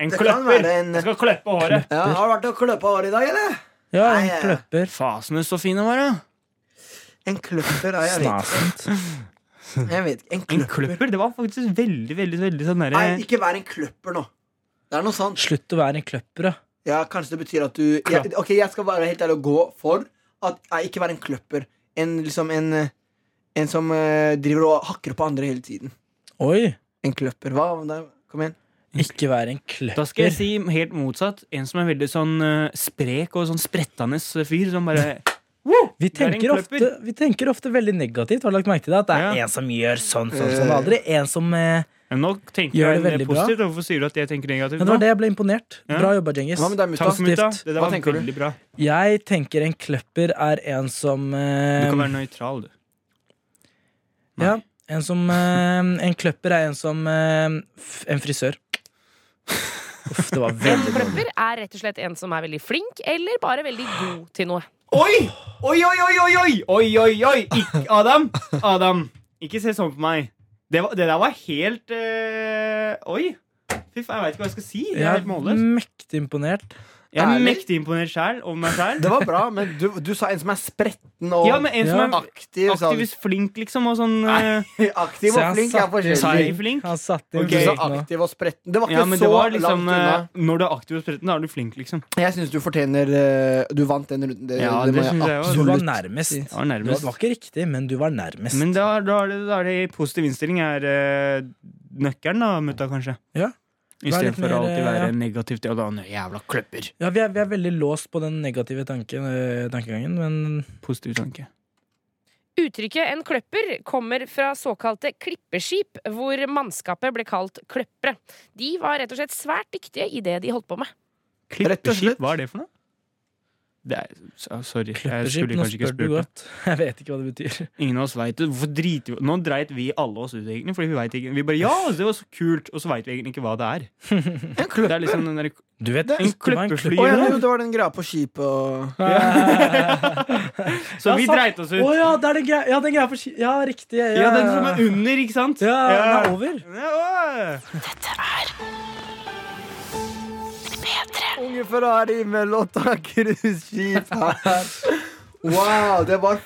Speaker 2: En
Speaker 1: Det kan
Speaker 2: kløpper.
Speaker 1: være en
Speaker 2: Jeg skal kløppe håret.
Speaker 1: ja, Har du vært og kløpa håret i dag, eller?
Speaker 3: Ja,
Speaker 1: Nei,
Speaker 3: en
Speaker 1: ja.
Speaker 3: kløpper.
Speaker 2: Fasene så fine var, da.
Speaker 1: En kløpper er jeg vet.
Speaker 3: Snasent.
Speaker 1: Jeg vet ikke. En
Speaker 2: En
Speaker 1: kløpper.
Speaker 2: kløpper? Det var faktisk veldig, veldig veldig sånn derre
Speaker 1: Nei, ikke vær en kløpper nå. Det er noe sant.
Speaker 3: Slutt å være en kløpper, da.
Speaker 1: Ja, Kanskje det betyr at du jeg, Ok, jeg skal være helt ærlig og gå for at nei, ikke være en kløpper. En, liksom en, eh, en som eh, driver og hakker på andre hele tiden.
Speaker 3: Oi!
Speaker 1: En kløpper. Hva? Nei, Kom igjen.
Speaker 3: Ikke være en
Speaker 2: Da skal jeg
Speaker 3: kløpper.
Speaker 2: si helt motsatt. En som er veldig sånn eh, sprek og sånn sprettende fyr. Som bare
Speaker 3: Vi
Speaker 2: er en
Speaker 3: tenker,
Speaker 2: kløpper.
Speaker 3: ofte, vi tenker ofte veldig negativt. Har du lagt merke til det? At det er
Speaker 2: Ja.
Speaker 3: en som gjør sånn, sånn, sånn. Aldri en som eh,
Speaker 2: [laughs] Men Nå tenker
Speaker 3: Gjør
Speaker 2: jeg
Speaker 3: det
Speaker 2: mer
Speaker 3: veldig bra.
Speaker 2: positivt. Hvorfor sier du at jeg tenker negativt?
Speaker 3: Men det var
Speaker 2: nå?
Speaker 3: det jeg ble imponert.
Speaker 2: Ja.
Speaker 3: Bra jobba, Djengis.
Speaker 1: Hva med deg, mutta?
Speaker 2: Takk, Mutta.
Speaker 3: Positivt.
Speaker 2: Det der
Speaker 1: Hva
Speaker 2: var
Speaker 1: tenker du?
Speaker 2: veldig bra.
Speaker 3: Jeg tenker en kløpper er en som
Speaker 2: Du
Speaker 3: eh,
Speaker 2: kan være nøytral, du. Nei.
Speaker 3: Ja, en som eh, En kløpper er en som eh, f-
Speaker 2: [laughs]
Speaker 3: En frisør. Uff, det var
Speaker 4: En
Speaker 3: veldig dårlig.
Speaker 4: kløpper er rett og slett en som er veldig flink, eller bare veldig god til noe.
Speaker 2: Oi! Oi, oi, oi, oi! Oi, oi, oi! oi. Ikke, Adam! Adam, ikke se sånn på meg. Det, var, det der var helt eh, Oi! Fy faen, jeg veit ikke hva jeg skal si. Jeg er
Speaker 3: Jeg
Speaker 2: helt
Speaker 3: er
Speaker 2: målløs.
Speaker 3: mektig imponert.
Speaker 2: Jeg er
Speaker 1: Ærlig?
Speaker 2: mektig imponert sjæl over meg sjæl.
Speaker 1: Det var bra, men du, du sa en som er spretten og
Speaker 2: Ja, men en som
Speaker 3: Ja.
Speaker 2: er
Speaker 1: aktiv. sa du.
Speaker 2: aktivist flink, liksom, og sånn eh,
Speaker 1: [laughs] aktiv
Speaker 3: Så
Speaker 1: og
Speaker 3: jeg
Speaker 1: flink er
Speaker 3: satt-
Speaker 2: seig
Speaker 1: forskjellig.
Speaker 2: flink.
Speaker 3: Han satt inn
Speaker 2: Ok.
Speaker 1: Du sa
Speaker 3: blikk nå.
Speaker 1: aktiv og spretten. Det var ikke
Speaker 2: Ja, men det
Speaker 1: så
Speaker 2: var
Speaker 1: langt
Speaker 2: liksom
Speaker 1: unna.
Speaker 2: eh, Når du er aktiv og spretten, da er du flink, liksom.
Speaker 1: Jeg syns du fortjener eh, Du vant den runden. Det,
Speaker 2: Ja,
Speaker 1: det må
Speaker 2: det synes jeg også.
Speaker 3: Du var
Speaker 1: absolutt si.
Speaker 3: nærmest.
Speaker 2: Ja,
Speaker 3: Du var,
Speaker 2: nærmest.
Speaker 3: var ikke riktig, men du var nærmest.
Speaker 2: Men da, da, er det, da er det positiv innstilling er eh, nøkkelen, da, mutta, kanskje.
Speaker 3: Ja. Vær litt
Speaker 2: Istedenfor å
Speaker 3: mer,
Speaker 2: alltid
Speaker 3: eh,
Speaker 2: være
Speaker 3: ja.
Speaker 2: negativ til Adam. Jævla kløpper.
Speaker 3: Ja, vi er, vi er veldig låst på den negative tanken, øh, tankegangen, men
Speaker 2: Positiv tanke.
Speaker 4: Uttrykket en kløpper kommer fra såkalte klippeskip, hvor mannskapet ble kalt kløppere. De var rett og slett svært dyktige i det de holdt på med.
Speaker 1: Rett og slett.
Speaker 2: Klippeskip, hva er det for noe? det er, så- Sorry, jeg
Speaker 3: Kløpperskip,
Speaker 2: skulle
Speaker 3: nå
Speaker 2: kanskje ikke
Speaker 3: spør
Speaker 2: spurt
Speaker 3: du
Speaker 2: det.
Speaker 3: godt. [laughs] Jeg vet ikke hva det betyr.
Speaker 2: Ingen av oss vet det. Hvorfor driter vi Nå dreit vi alle oss ut, egentlig. Fordi vi vet ikke Vi bare Ja, det var så kult! Og så veit vi egentlig ikke hva det er.
Speaker 3: [laughs]
Speaker 1: En
Speaker 2: Det
Speaker 1: kløpper?
Speaker 2: er liksom den der,
Speaker 3: Du vet
Speaker 1: Å,
Speaker 2: En
Speaker 1: ja,
Speaker 2: klippeflyger.
Speaker 1: det var den greia på skipet og
Speaker 2: Så vi
Speaker 3: Ja, sant.
Speaker 2: dreit oss
Speaker 3: Å
Speaker 2: ut.
Speaker 3: ja, det er den greia ja, den greia på ski... Ja, riktig. Ja,
Speaker 2: Ja, den som er under, ikke sant?
Speaker 3: ja, den er
Speaker 2: Ja.
Speaker 3: over.
Speaker 2: Ja.
Speaker 1: Unge Ferrari med låta 'Cruiseskip' her. Wow, det var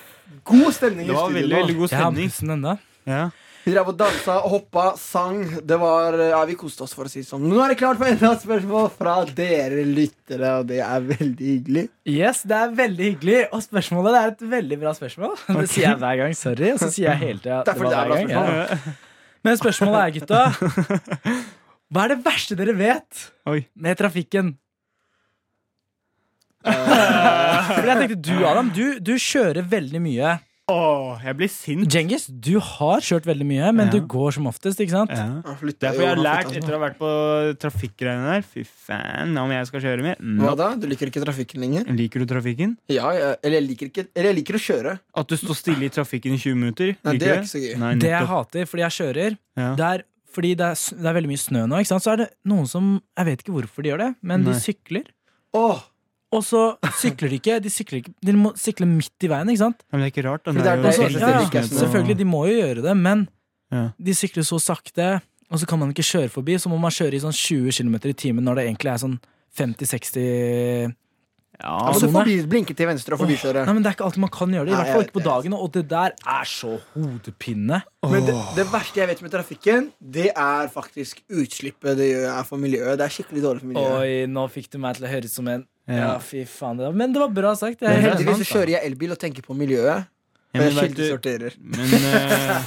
Speaker 1: god stemning
Speaker 2: Det
Speaker 1: i
Speaker 2: var
Speaker 1: studio
Speaker 2: veldig,
Speaker 1: nå.
Speaker 2: veldig god
Speaker 3: Jeg har
Speaker 2: stemning.
Speaker 3: musen ennå.
Speaker 2: Ja.
Speaker 1: Vi drev og dansa, hoppa, sang. Det var, ja, Vi koste oss, for å si det sånn. Nå er det klart for enda et spørsmål fra dere lyttere, og det er veldig hyggelig.
Speaker 3: Yes, det er veldig hyggelig. Og spørsmålet det er et veldig bra spørsmål. Det sier jeg hver gang. Sorry. Og så sier jeg hele tida
Speaker 1: Det er fordi det er bra spørsmål.
Speaker 3: Ja. Men spørsmålet er, gutta Hva er det verste dere vet
Speaker 2: Oi.
Speaker 3: med trafikken?
Speaker 1: Eh,
Speaker 3: Fordi jeg tenkte Du Adam, du, du kjører veldig mye.
Speaker 2: Åh, jeg blir sint.
Speaker 3: Djengis, du har kjørt veldig mye, men
Speaker 2: Ja.
Speaker 3: du går som oftest. ikke sant?
Speaker 2: Ja.
Speaker 1: Han flyttet
Speaker 2: Det er
Speaker 1: jo,
Speaker 2: fordi jeg har
Speaker 1: han
Speaker 2: lært
Speaker 1: flyttet
Speaker 2: etter å ha vært på trafikkgreiene der. Fy faen, om jeg skal kjøre mer?
Speaker 1: Hva
Speaker 2: Nå.
Speaker 1: da? Du liker ikke trafikken lenger?
Speaker 2: Liker du trafikken?
Speaker 1: Ja, jeg, eller, jeg liker ikke, eller jeg liker å kjøre.
Speaker 2: At du står stille i trafikken i 20 minutter?
Speaker 1: Nei, det
Speaker 2: Liker
Speaker 1: er
Speaker 2: du
Speaker 1: ikke så gøy.
Speaker 2: Nei,
Speaker 3: Det jeg
Speaker 2: nettopp.
Speaker 3: hater fordi jeg kjører,
Speaker 2: Ja.
Speaker 3: det er fordi det er, s- det er veldig mye snø nå, ikke sant? så er det noen som Jeg vet ikke hvorfor de gjør det, men
Speaker 2: Nei.
Speaker 3: de sykler.
Speaker 1: Åh,
Speaker 3: Og så sykler de ikke. De, sykler ikke, de må sykle midt i veien, ikke sant?
Speaker 2: Men det er ikke rart. da.
Speaker 1: For
Speaker 2: Det er
Speaker 1: det
Speaker 2: jo
Speaker 1: er-
Speaker 3: Og så-
Speaker 1: det
Speaker 2: helt
Speaker 1: er-
Speaker 3: ja,
Speaker 1: det er-
Speaker 2: sikkert
Speaker 1: det er-
Speaker 3: selvfølgelig, de må jo gjøre det, men
Speaker 2: Ja.
Speaker 3: de sykler så sakte, og så kan man ikke kjøre forbi, så må man kjøre i sånn 20 km i timen når det egentlig er sånn 50-60
Speaker 2: Ja,
Speaker 1: må
Speaker 3: altså,
Speaker 1: du forbi, blinke til venstre og forbikjøre.
Speaker 3: Nei, men Det er ikke alltid man kan gjøre det, i
Speaker 1: Nei,
Speaker 3: hvert fall
Speaker 1: jeg-
Speaker 3: ikke på dagen, og det der er så hodepine.
Speaker 1: Men det, det verste jeg vet med trafikken, det er faktisk utslippet det gjør er for miljøet. Det er skikkelig dårlig for miljøet.
Speaker 3: Oi, nå fikk du meg til å høre ut som en
Speaker 2: Ja.
Speaker 3: Ja, fy faen. Det var, men det var bra sagt. Jeg
Speaker 2: Det
Speaker 3: er
Speaker 2: er
Speaker 3: helt
Speaker 2: sant,
Speaker 1: Heldigvis så
Speaker 2: da.
Speaker 1: kjører jeg elbil og tenker på miljøet.
Speaker 2: Ja,
Speaker 1: Og
Speaker 2: men
Speaker 1: jeg
Speaker 2: vet du-
Speaker 1: kildesorterer. [laughs]
Speaker 2: Men, eh,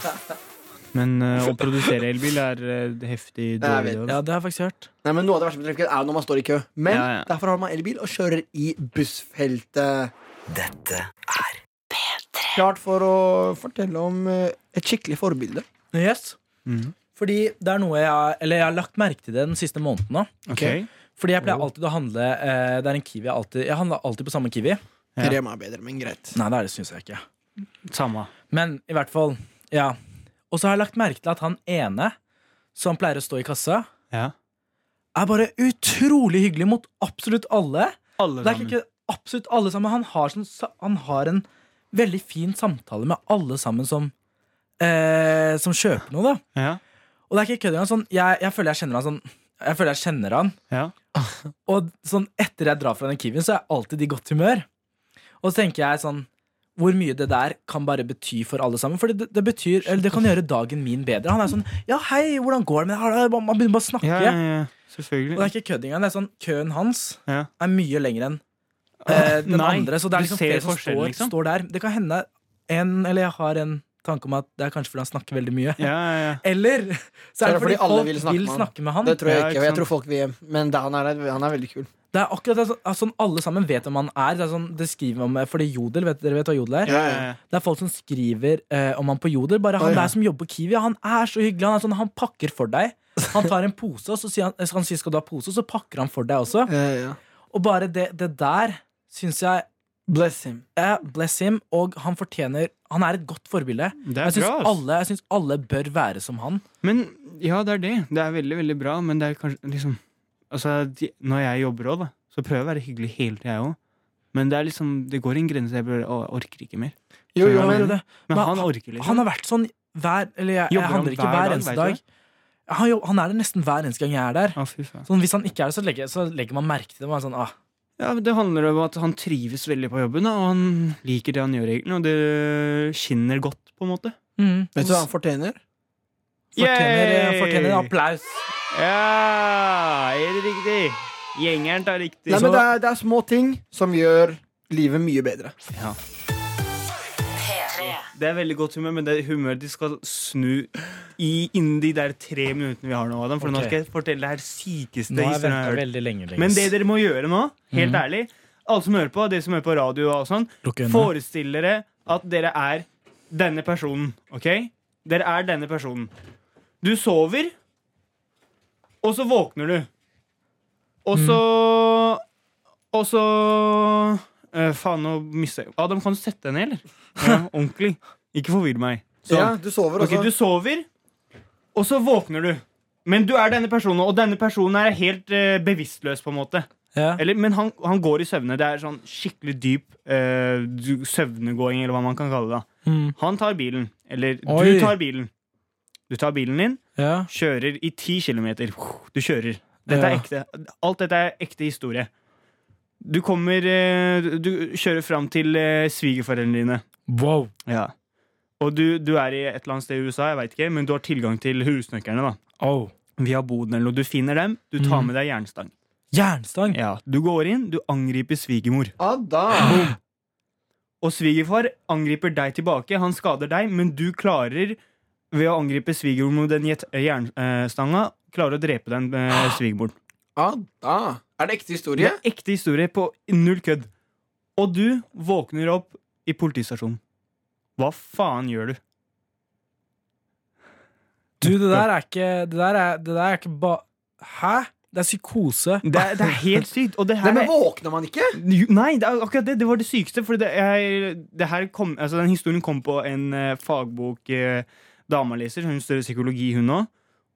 Speaker 2: men eh, å produsere elbil er eh, heftig
Speaker 1: Ja, jeg vet.
Speaker 2: dårlig. det,
Speaker 3: Ja,
Speaker 2: altså.
Speaker 3: det har jeg faktisk hørt.
Speaker 1: Nei, men Noe av det verste med trafikken er når man står i kø. Men
Speaker 2: Ja, ja.
Speaker 1: derfor har man elbil og kjører i bussfeltet. Dette er P3. Klart for å fortelle om eh, et skikkelig forbilde.
Speaker 3: Yes.
Speaker 2: Mhm.
Speaker 3: Fordi det er noe jeg har, eller jeg har lagt merke til det den siste måneden. nå.
Speaker 2: Ok.
Speaker 3: Fordi jeg
Speaker 2: Oh.
Speaker 3: pleier alltid å handle eh, Det er en Kiwi jeg alltid Jeg handler alltid på samme Kiwi.
Speaker 2: Ja.
Speaker 1: Rema er bedre, men greit.
Speaker 3: Nei, det er det syns jeg ikke.
Speaker 2: Samme.
Speaker 3: Men i hvert fall. Ja. Og så har jeg lagt merke til at han ene som pleier å stå i kassa,
Speaker 2: Ja.
Speaker 3: er bare utrolig hyggelig mot absolutt alle.
Speaker 2: Alle
Speaker 3: Det er ikke, ikke absolutt alle sammen. Han har, sånn, sa- han har en veldig fin samtale med alle sammen som, eh, som kjøper noe, da.
Speaker 2: Ja.
Speaker 3: Og det er ikke kødd engang. Sånn, jeg, jeg føler jeg kjenner han sånn Jeg føler jeg kjenner han.
Speaker 2: Ja.
Speaker 3: Og sånn etter jeg drar fra den kiwien, så er jeg alltid i godt humør. Og så tenker jeg sånn hvor mye det der kan bare bety for alle sammen. For det, det betyr, eller det kan gjøre dagen min bedre. Han er sånn 'Ja, hei, hvordan går det med deg?' Man begynner bare å snakke.
Speaker 2: Ja, ja, ja.
Speaker 3: Og det
Speaker 2: Selvfølgelig.
Speaker 3: er ikke kødd engang. det er Sånn, køen hans
Speaker 2: Ja.
Speaker 3: er mye lenger enn eh, den
Speaker 2: Ah, Nei,
Speaker 3: andre. Så det
Speaker 2: du
Speaker 3: er liksom
Speaker 2: ser
Speaker 3: flere som
Speaker 2: forskjellen,
Speaker 3: står,
Speaker 2: liksom.
Speaker 3: står der. Det kan hende en, eller jeg har en tanke om at det er kanskje fordi han snakker veldig mye.
Speaker 2: Ja, ja, ja.
Speaker 3: Eller så er det fordi, alle folk vil snakke,
Speaker 1: med han.
Speaker 3: med han.
Speaker 1: Det tror jeg
Speaker 2: Ja,
Speaker 1: ikke.
Speaker 2: ikke
Speaker 1: og Jeg
Speaker 2: sant.
Speaker 1: tror folk vil hjem. Men det, han, er, han er veldig kul.
Speaker 3: Det er akkurat det, sånn- sånn Alle sammen vet hvem han er. Det er sånn, det skriver man med, fordi Jodel, vet, Dere vet hva Jodel er?
Speaker 1: Ja,
Speaker 2: ja, ja.
Speaker 3: Det er folk som skriver eh, om han på Jodel. Bare han
Speaker 1: Å, ja.
Speaker 3: der som jobber på Kiwi, han er så hyggelig. Han, er sånn, han pakker for deg. Han tar en pose, og så sier han, eh, han sier, skal du ha pose, og så pakker han for deg også.
Speaker 1: Ja, Eh, ja.
Speaker 3: Og bare det, det der syns jeg
Speaker 1: Bless him.
Speaker 3: eh, Bless him, og han fortjener Han er et godt forbilde.
Speaker 2: Det er bra,
Speaker 3: Jeg syns
Speaker 2: ass.
Speaker 3: alle, jeg synes alle bør være som han.
Speaker 2: Men ja, det er det. Det er veldig, veldig bra, men det er kanskje liksom Altså, de, når jeg jobber òg, da, så prøver jeg å være hyggelig hele tida, jeg òg. Men det er liksom Det går en grense. Jeg bare å, jeg orker ikke mer.
Speaker 1: Jo, jo, men
Speaker 2: Ja,
Speaker 3: Men,
Speaker 2: Men
Speaker 3: Men
Speaker 2: han orker liksom.
Speaker 3: Han har vært sånn hver Eller jeg,
Speaker 2: Jobber
Speaker 3: jeg
Speaker 2: han
Speaker 3: handler ikke
Speaker 2: hver
Speaker 3: hver
Speaker 2: dag,
Speaker 3: eneste
Speaker 2: vet du
Speaker 3: dag.
Speaker 2: det?
Speaker 3: Han, jo- han er det nesten hver eneste gang jeg er der.
Speaker 2: Å, fy faen.
Speaker 3: Sånn, hvis han ikke er det, så legger, så legger man merke til det. Man er sånn, ah,
Speaker 2: Ja, men Det handler om at han trives veldig på jobben, da, og han liker det han gjør, egentlig. Og det skinner godt, på en måte.
Speaker 3: mm,
Speaker 1: Vet du hva han fortjener?
Speaker 3: fortjener, eh,
Speaker 2: Yay!
Speaker 3: fortjener en applaus.
Speaker 2: Ja, er det riktig? Gjengeren tar riktig.
Speaker 1: Nei, men det er, det er små ting som gjør livet mye bedre.
Speaker 2: Ja. Det er veldig godt humør, men det humøret de skal snu i innen de der tre minuttene vi har nå, Adam. For nå
Speaker 3: Ok.
Speaker 2: skal jeg fortelle det her sykeste
Speaker 3: Nå
Speaker 2: historien
Speaker 3: har jeg
Speaker 2: jeg
Speaker 3: venta
Speaker 2: har hørt.
Speaker 3: veldig lenge.
Speaker 2: Men det dere må gjøre nå, helt
Speaker 3: Mhm.
Speaker 2: ærlig, alle som hører på, dere som hører på radio og sånn, forestill dere at dere er denne personen, OK? Dere er denne personen. Du sover, og så våkner du. Og så Og så eh, Eh, faen, nå mister jeg Adam, kan du sette deg ned, eller? Ja, ordentlig. Ikke forvirr meg. Sånn.
Speaker 1: Ja, du sover
Speaker 2: Ok,
Speaker 1: også.
Speaker 2: du sover, og så våkner du. Men du er denne personen, og denne personen er helt eh, bevisstløs, på en måte.
Speaker 3: Ja.
Speaker 2: Eller, men han, han går i søvne. Det er sånn skikkelig dyp eh, du- søvnegåing, eller hva man kan kalle det. da.
Speaker 3: Mm.
Speaker 2: Han tar bilen. Eller
Speaker 3: Oi.
Speaker 2: du tar bilen. Du tar bilen din,
Speaker 3: ja.
Speaker 2: kjører i ti kilometer. Du kjører. Dette er
Speaker 3: Ja.
Speaker 2: ekte. Alt dette er ekte historie. Du kommer eh, Du kjører fram til eh, svigerforeldrene dine.
Speaker 3: Wow.
Speaker 2: Ja. Og du, du er i et eller annet sted i USA, jeg vet ikke, men du har tilgang til husnøkkerne. da
Speaker 3: Oh.
Speaker 2: Via boden eller noe. Du finner dem, du tar
Speaker 3: Mm.
Speaker 2: med deg jernstang.
Speaker 3: Jernstang.
Speaker 2: Ja. Du går inn, du angriper svigermor.
Speaker 1: Ah, Adam!
Speaker 2: Og svigerfar angriper deg tilbake, han skader deg, men du klarer, ved å angripe svigermor med den jet- jernstanga, klarer å drepe den eh,
Speaker 1: Ah,
Speaker 2: svigermoren.
Speaker 1: Adam! Ah, Er det ekte
Speaker 2: Det
Speaker 1: historie?
Speaker 2: er ekte historie på null kødd. Og du våkner opp i politistasjonen. Hva faen gjør du?
Speaker 3: Du, det der er ikke Det der er, det der er ikke ba... Hæ? Det er psykose.
Speaker 2: Det er, det er helt sykt. Og det
Speaker 1: Nei,
Speaker 2: her
Speaker 1: men
Speaker 2: er,
Speaker 1: våkner man ikke?
Speaker 2: Jo, nei, det er akkurat det. Det var det sykeste. For det er, det her kom, altså, den historien kom på en eh, fagbok eh, dama leser. Hun studerer psykologi, hun òg.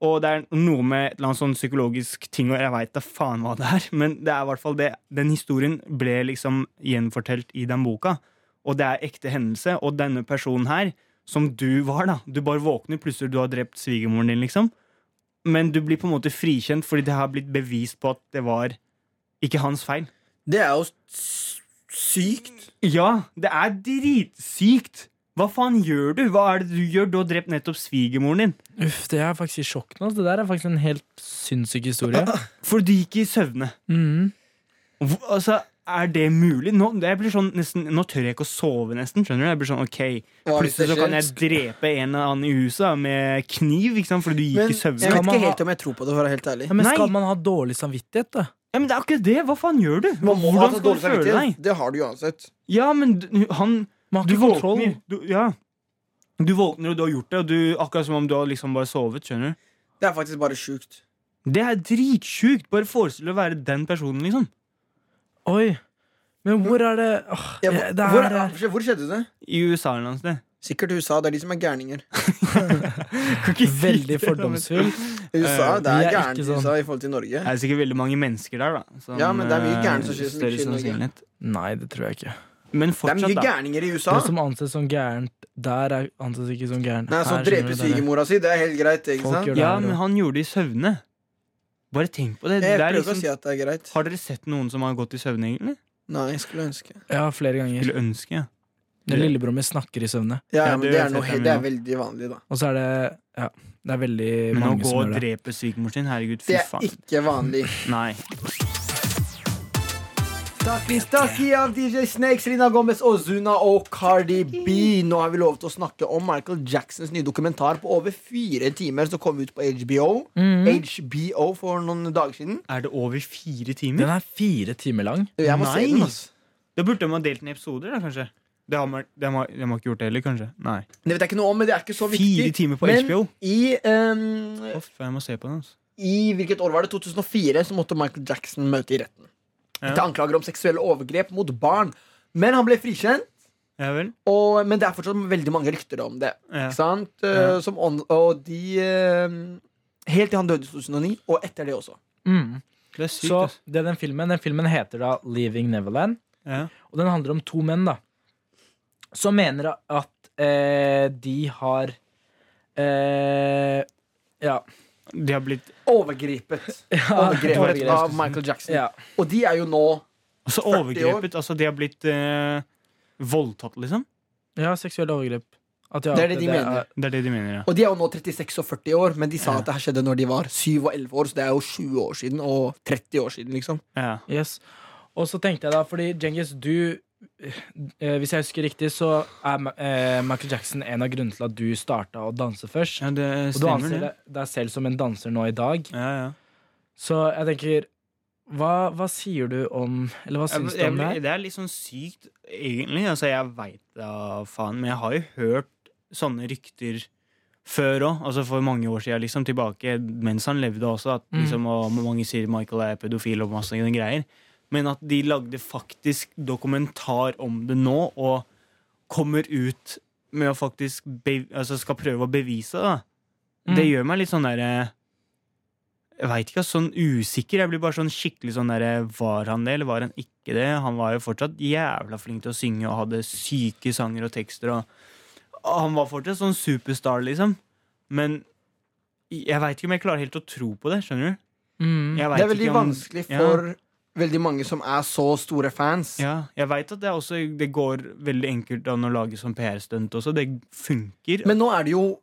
Speaker 2: Og det er noe med et eller annet sånn psykologisk ting, og jeg veit da faen hva det er. [laughs] Men det er i hvert fall det. den historien ble liksom gjenfortelt i den boka. Og det er ekte hendelse. Og denne personen her, som du var, da Du bare våkner, plutselig du har drept svigermoren din, liksom. Men du blir på en måte frikjent fordi det har blitt bevist på at det var ikke hans feil.
Speaker 1: Det er jo s- sykt.
Speaker 2: Ja, det er dritsykt. Hva faen gjør du? Hva er det du gjør? Du har drept nettopp svigermoren din.
Speaker 3: Uff, det er faktisk i sjokk nå. altså. Det der er faktisk en helt sinnssyk [laughs] historie.
Speaker 2: For du gikk i søvne.
Speaker 3: Mm.
Speaker 2: Hvor- Altså, er det mulig? Nå, jeg blir sånn, nesten, nå tør jeg ikke å sove, nesten. Skjønner du? Jeg blir sånn, ok,
Speaker 1: Hva hvis det
Speaker 2: Plutselig så kan jeg
Speaker 1: skjer?
Speaker 2: drepe en eller annen i huset da, med kniv, ikke sant? fordi du gikk
Speaker 1: Men
Speaker 2: i
Speaker 1: jeg
Speaker 2: søvne.
Speaker 1: vet
Speaker 3: Skal man
Speaker 1: ikke
Speaker 3: ha-
Speaker 1: helt om jeg tror på det, for å være helt ærlig.
Speaker 3: Ja, men
Speaker 2: Nei.
Speaker 3: skal man ha dårlig samvittighet, da?
Speaker 2: Ja, men det er akkurat det! Hva faen gjør du?
Speaker 1: Man må ha
Speaker 2: Hvordan
Speaker 1: så
Speaker 2: skal du
Speaker 1: dårlig
Speaker 2: føle deg?
Speaker 1: samvittighet. Det har du uansett.
Speaker 2: Ja, men du- han
Speaker 3: Man har
Speaker 2: Du
Speaker 3: ikke kontroll.
Speaker 2: våkner. Du, ja. du våkner, og du har gjort det, og du, akkurat som om du har liksom bare sovet. skjønner du?
Speaker 1: Det er faktisk bare sjukt.
Speaker 2: Det er dritsjukt! Bare forestill deg å være den personen, liksom.
Speaker 3: Oi. Men hvor er det Åh,
Speaker 1: Ja,
Speaker 3: jeg- det
Speaker 1: hvor, hvor,
Speaker 3: er, [laughs]
Speaker 1: hvor skjedde det?
Speaker 2: I USA eller noe sted.
Speaker 1: Sikkert USA. Det er de som er gærninger.
Speaker 2: Kan ikke si
Speaker 3: veldig
Speaker 2: det, da, men-
Speaker 3: fordomsfull.
Speaker 1: USA, det
Speaker 3: vi
Speaker 1: er
Speaker 3: er
Speaker 1: gærent i
Speaker 3: ikke sånn.
Speaker 1: USA i forhold til Norge.
Speaker 2: Det er sikkert veldig mange mennesker der, da. som,
Speaker 1: Ja, men det er mye
Speaker 2: eh,
Speaker 1: gærne som skjer som
Speaker 2: større
Speaker 1: ikke skjer i Norge.
Speaker 2: sannsynlighet.
Speaker 3: Nei, det tror jeg ikke.
Speaker 2: Men
Speaker 1: Det er
Speaker 2: fortsatt,
Speaker 1: mye
Speaker 2: da.
Speaker 1: gærninger i USA.
Speaker 3: Det som anses som gærent der, er anses ikke som gærent.
Speaker 1: Nei, så
Speaker 3: Her,
Speaker 1: drepe
Speaker 3: skjønner du, det er-
Speaker 1: svigermora si, det er helt greit. ikke
Speaker 3: Folk
Speaker 1: sant?
Speaker 3: gjør det
Speaker 2: Ja,
Speaker 3: her
Speaker 2: men
Speaker 3: også.
Speaker 2: han gjorde det i søvne. Bare tenk på det.
Speaker 1: Jeg
Speaker 2: det er
Speaker 1: prøver ikke å si
Speaker 2: liksom,
Speaker 1: at det er greit.
Speaker 2: har dere sett noen som har gått i søvne, egentlig?
Speaker 1: Nei, jeg skulle ønske.
Speaker 3: Ja, flere ganger.
Speaker 2: Skulle ønske. ja.
Speaker 3: Når lillebror min snakker i søvne,
Speaker 1: Ja,
Speaker 2: Ja,
Speaker 1: men
Speaker 2: det
Speaker 1: det
Speaker 2: vet
Speaker 1: er, noe,
Speaker 2: jeg,
Speaker 1: he- det er veldig vanlig, da.
Speaker 3: og så er det Ja, det er veldig
Speaker 2: Men å
Speaker 3: mange
Speaker 2: gå
Speaker 3: som
Speaker 2: og
Speaker 3: gjør det.
Speaker 2: drepe svigermoren sin, herregud, fy
Speaker 1: Det er
Speaker 2: faen.
Speaker 1: ikke vanlig.
Speaker 2: Nei.
Speaker 1: Stakki, stakki av DJ Snakes, Lina Gomez, Ozuna og Cardi B. Nå har vi lovet å snakke om Michael Jacksons nye dokumentar på over fire timer som kom ut på HBO.
Speaker 2: Mhm.
Speaker 1: HBO for noen dager siden.
Speaker 2: Er det over fire
Speaker 3: Den
Speaker 2: timer?
Speaker 3: er fire timer lang.
Speaker 1: Jeg må
Speaker 2: Nei.
Speaker 1: se den, ass.
Speaker 2: Da burde de ha delt den i episoder, da, kanskje. De har, man- de, har, de har ikke gjort det heller, kanskje. Nei.
Speaker 1: Det vet jeg ikke noe om, men det er ikke så viktig.
Speaker 2: Fire timer på
Speaker 1: men
Speaker 2: HBO?
Speaker 1: i, ehm,
Speaker 2: Å, fy faen, jeg må se på den. Altså.
Speaker 1: I hvilket år var det? 2004 så måtte Michael Jackson møte i retten.
Speaker 2: Ja.
Speaker 1: Til anklager om seksuelle overgrep mot barn. Men han ble frikjent,
Speaker 2: Ja vel?
Speaker 1: og, men det er fortsatt veldig mange rykter om det.
Speaker 2: Ja.
Speaker 1: Ikke sant? Eh,
Speaker 2: Ja.
Speaker 1: Som on, og de eh, Helt til han døde i 2009, og etter det også.
Speaker 2: Det er sykt,
Speaker 3: Mm.
Speaker 2: altså.
Speaker 3: Så
Speaker 2: ass.
Speaker 3: det er den filmen Den filmen heter da Leaving Neverland,
Speaker 2: Ja.
Speaker 3: og den handler om to menn da som mener at eh, de har eh, ja,
Speaker 2: De har blitt
Speaker 1: Overgrepet.
Speaker 2: [laughs]
Speaker 1: Overgrepet
Speaker 3: overgrepet.
Speaker 1: av Michael Jackson.
Speaker 3: ja.
Speaker 1: Og de er jo nå
Speaker 2: Altså
Speaker 1: 40 år.
Speaker 2: overgrepet. Altså de har blitt eh, voldtatt, liksom.
Speaker 3: ja, seksuelle overgrep. At ja,
Speaker 1: Det er det de mener.
Speaker 3: er-
Speaker 2: Det er det de mener, ja.
Speaker 1: Og de er jo nå 36 og 40 år, men de sa at det her skjedde når de var 7 og 11 år, så det er jo 20 år siden og 30 år siden, liksom.
Speaker 2: ja.
Speaker 3: Yes. Og så tenkte jeg da, fordi Djengis, du eh, Hvis jeg husker riktig, så er Ma- eh, Michael Jackson en av grunnene til at du starta å danse først.
Speaker 2: Ja, det
Speaker 3: Og du
Speaker 2: stemmer,
Speaker 3: anser
Speaker 2: det.
Speaker 3: deg, deg selv som en danser nå i dag.
Speaker 2: Ja, ja.
Speaker 3: Så jeg tenker hva, hva sier du om Eller hva syns du
Speaker 2: Jeg-
Speaker 3: om det
Speaker 2: jeg-
Speaker 3: her?
Speaker 2: det er litt sånn sykt, egentlig. Altså, jeg veit da faen, men jeg har jo hørt sånne rykter før òg, altså for mange år siden, liksom, tilbake mens han levde også, at
Speaker 3: Mm.
Speaker 2: liksom, og mange sier Michael er pedofil og masse greier. men at de lagde faktisk dokumentar om det nå, og kommer ut med å faktisk be, altså skal prøve å bevise det. da. Det
Speaker 3: Mm.
Speaker 2: gjør meg litt sånn derre Jeg veit ikke, ass, sånn usikker. Jeg blir bare sånn skikkelig sånn derre Var han det, eller var han ikke det? Han var jo fortsatt jævla flink til å synge og hadde syke sanger og tekster og Han var fortsatt sånn superstar, liksom. Men jeg veit ikke om jeg klarer helt å tro på det, skjønner du?
Speaker 3: Mm.
Speaker 2: Jeg vet
Speaker 1: Det er veldig
Speaker 2: ikke om-
Speaker 1: vanskelig
Speaker 2: Ja.
Speaker 1: for veldig mange som er så store fans.
Speaker 2: Ja, jeg veit at det, er også, det går veldig enkelt an å lage som PR-stunt også. Det funker
Speaker 1: Men nå er det jo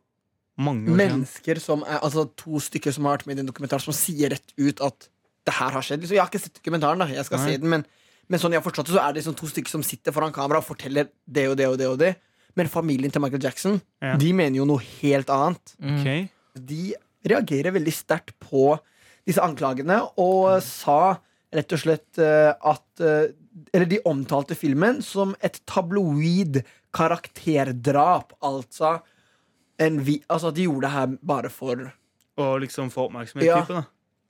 Speaker 2: mange år siden.
Speaker 1: mennesker som er Altså to stykker som har vært med i den dokumentaren, som sier rett ut at det her har skjedd. Liksom, jeg har ikke sett dokumentaren, da. Jeg skal
Speaker 2: Nei.
Speaker 1: se den, men, men sånn jeg har forstått det, så er det liksom to stykker som sitter foran kamera og forteller det og det og det og det. Men familien til Michael Jackson,
Speaker 2: Ja.
Speaker 1: de mener jo noe helt annet.
Speaker 2: Ok.
Speaker 1: de reagerer veldig sterkt på disse anklagene og
Speaker 3: Mm.
Speaker 1: sa rett og slett eh, at eh, Eller de omtalte filmen som et tabloid karakterdrap. Altså, en vi, altså at de gjorde det her bare for
Speaker 2: Og liksom få oppmerksomhet.
Speaker 1: Ja.
Speaker 2: Type, da.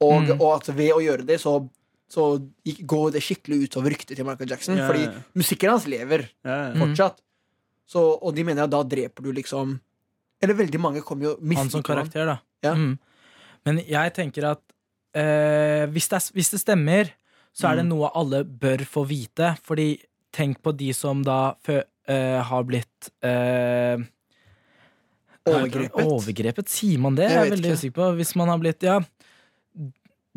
Speaker 1: Og,
Speaker 3: Mm.
Speaker 1: og at ved å gjøre det, så, så gikk- går det skikkelig utover ryktet til Michael Jackson.
Speaker 2: Ja, ja,
Speaker 1: Fordi
Speaker 2: ja.
Speaker 1: musikken hans lever
Speaker 3: Mm.
Speaker 2: Ja, ja.
Speaker 1: fortsatt. Så, og de mener at da dreper du liksom Eller veldig mange kommer jo
Speaker 3: Han som
Speaker 1: misliker ham.
Speaker 3: karakter, da.
Speaker 1: Ja.
Speaker 3: Mm. Men jeg tenker at eh, hvis, det er, hvis det stemmer, så er det
Speaker 2: Mm.
Speaker 3: noe alle bør få vite. Fordi tenk på de som da fø, eh, har blitt eh,
Speaker 1: Overgrepet.
Speaker 3: Overgrepet, sier man det?
Speaker 1: Jeg
Speaker 3: Jeg, er
Speaker 1: vet
Speaker 3: veldig
Speaker 1: ikke.
Speaker 3: usikker på. Hvis man har blitt, ja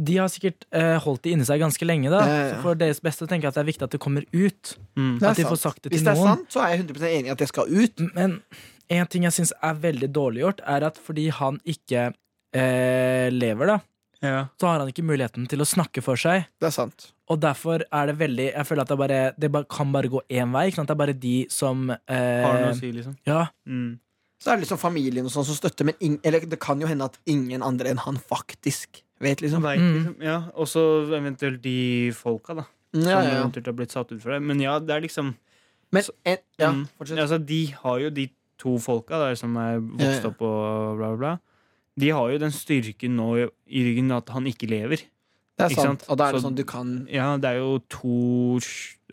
Speaker 3: De har sikkert eh, holdt det inni seg ganske lenge, da.
Speaker 1: Ja, ja, ja.
Speaker 3: Så for deres beste tenker jeg at det er viktig at det kommer ut.
Speaker 2: Mm.
Speaker 1: Det er
Speaker 3: At de får
Speaker 1: sant.
Speaker 3: sagt det
Speaker 1: Hvis
Speaker 3: til
Speaker 1: det er
Speaker 3: noen.
Speaker 1: sant, så er jeg 100 enig i at det skal ut.
Speaker 3: Men en ting jeg syns er veldig dårlig gjort, er at fordi han ikke eh, lever, da,
Speaker 2: Ja.
Speaker 3: så har han ikke muligheten til å snakke for seg.
Speaker 1: Det er sant.
Speaker 3: Og derfor er det veldig Jeg føler at det, bare, det bare, kan bare gå én vei. Ikke sant? Det er bare de som eh,
Speaker 2: Har noe å si, liksom.
Speaker 3: Ja.
Speaker 2: Mm.
Speaker 1: Så er det liksom familien og sånn som støtter, men ing- eller det kan jo hende at ingen andre enn han faktisk vet, liksom.
Speaker 2: Vet,
Speaker 3: Mm.
Speaker 2: liksom. Ja. Og så eventuelt de folka, da. Som
Speaker 1: Ja, ja, ja.
Speaker 2: eventuelt har blitt satt ut for det. Men ja, det er liksom
Speaker 1: Men en, ja,
Speaker 2: Mm.
Speaker 1: fortsett.
Speaker 2: Altså, de har jo de to folka der som er
Speaker 1: Ja,
Speaker 2: vokst
Speaker 1: ja.
Speaker 2: opp og bla, bla, bla. De har jo den styrken nå i i ryggen at han ikke lever.
Speaker 1: Det er
Speaker 2: ikke
Speaker 1: sant.
Speaker 2: sant?
Speaker 1: Og da er det
Speaker 2: Så-
Speaker 1: sånn du kan
Speaker 2: Ja, det er jo to,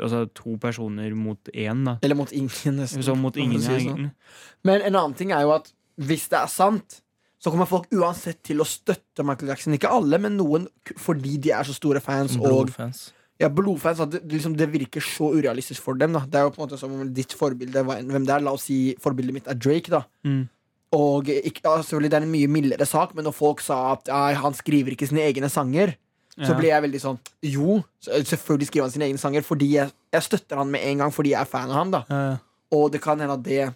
Speaker 2: altså, to personer mot én, da.
Speaker 1: Eller mot ingen, nesten.
Speaker 2: Som mot
Speaker 1: om man
Speaker 2: ingen,
Speaker 1: sier
Speaker 2: ja,
Speaker 1: sånn.
Speaker 2: egentlig.
Speaker 1: Men en annen ting er jo at hvis det er sant, så kommer folk uansett til å støtte Michael Jackson. Ikke alle, men noen k- fordi de er så store fans. Og
Speaker 3: Blodfans.
Speaker 1: ja, blodfans at det, liksom, det virker så urealistisk for dem. Da. Det er jo på en måte som om ditt forbilde hva enn- hvem det er. La oss si forbildet mitt er Drake. da
Speaker 2: Mm.
Speaker 1: Og ikke, ja, selvfølgelig det er en mye mildere sak, men når folk sa at «Ai, han skriver ikke sine egne sanger, så
Speaker 2: Ja.
Speaker 1: ble jeg veldig sånn Jo, så- selvfølgelig skriver han sine egne sanger, fordi jeg, jeg støtter han med en gang fordi jeg er fan av han. da
Speaker 2: Ja, ja.
Speaker 1: Og det kan hende at det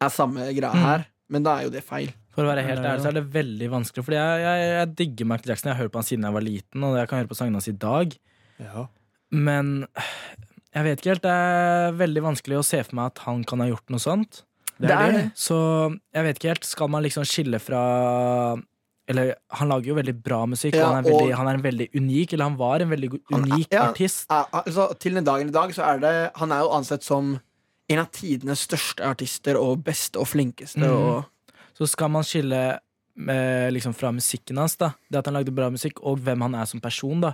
Speaker 1: er samme greia
Speaker 2: Mm.
Speaker 1: her, men da er jo det feil.
Speaker 3: For å være helt
Speaker 2: Ja, ja.
Speaker 3: ærlig så er det veldig vanskelig. Fordi jeg, jeg, jeg digger Michael Jackson. Jeg har hørt på han siden jeg var liten, og jeg kan høre på sangene hans i dag. Men jeg vet ikke helt. Det er veldig vanskelig å se for meg at han kan ha gjort noe sånt.
Speaker 2: Det er det.
Speaker 3: Så jeg vet ikke helt. Skal man liksom skille fra Eller han lager jo veldig bra musikk,
Speaker 1: Ja,
Speaker 3: og, han er veldig,
Speaker 1: og-
Speaker 3: han er en veldig unik Eller han var en veldig
Speaker 1: Han er-
Speaker 3: unik
Speaker 1: ja.
Speaker 3: artist.
Speaker 1: Ja, altså, til den dagen i dag så er det Han er jo ansett som en av tidenes største artister og beste og flinkeste.
Speaker 3: Mhm.
Speaker 1: Og,
Speaker 3: Så skal man skille eh, liksom fra musikken hans, da. Det at han lagde bra musikk, og hvem han er som person, da.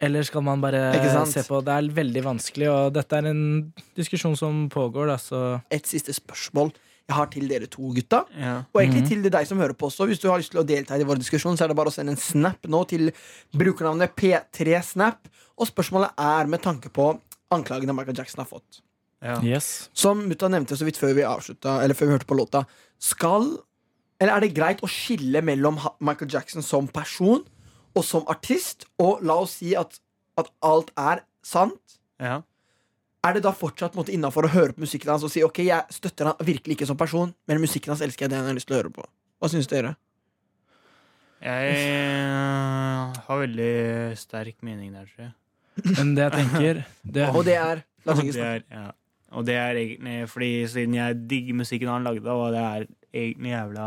Speaker 3: Eller skal man
Speaker 1: Ikke
Speaker 3: bare
Speaker 1: sant?
Speaker 3: se på Det er veldig vanskelig, og dette er en diskusjon som pågår, da, så
Speaker 1: et siste spørsmål jeg har til dere to gutta.
Speaker 2: Ja.
Speaker 1: Og egentlig til deg som hører på også Hvis du har lyst til å delta i vår diskusjon, så er det bare å sende en snap nå til brukernavnet P3snap. Og spørsmålet er med tanke på anklagene Michael Jackson har fått.
Speaker 2: Ja.
Speaker 3: Yes.
Speaker 1: Som mutta nevnte så vidt før vi avslutta Eller før vi hørte på låta. Skal Eller er det greit å skille mellom ha- Michael Jackson som person og som artist? Og la oss si at, at alt er sant.
Speaker 2: Ja.
Speaker 1: Er det da fortsatt innafor å høre på musikken hans og si ok, jeg støtter han virkelig ikke som person, men musikken hans elsker jeg, den har jeg lyst til å høre på? Hva syns dere?
Speaker 2: Jeg eh, har veldig sterk mening der, tror jeg.
Speaker 3: Men det jeg tenker det,
Speaker 1: Og det er La oss ikke
Speaker 2: Og Altså, det
Speaker 1: snakke.
Speaker 2: er, ja. og det er egentlig fordi siden jeg digger musikken han lagde, og det er egentlig jævla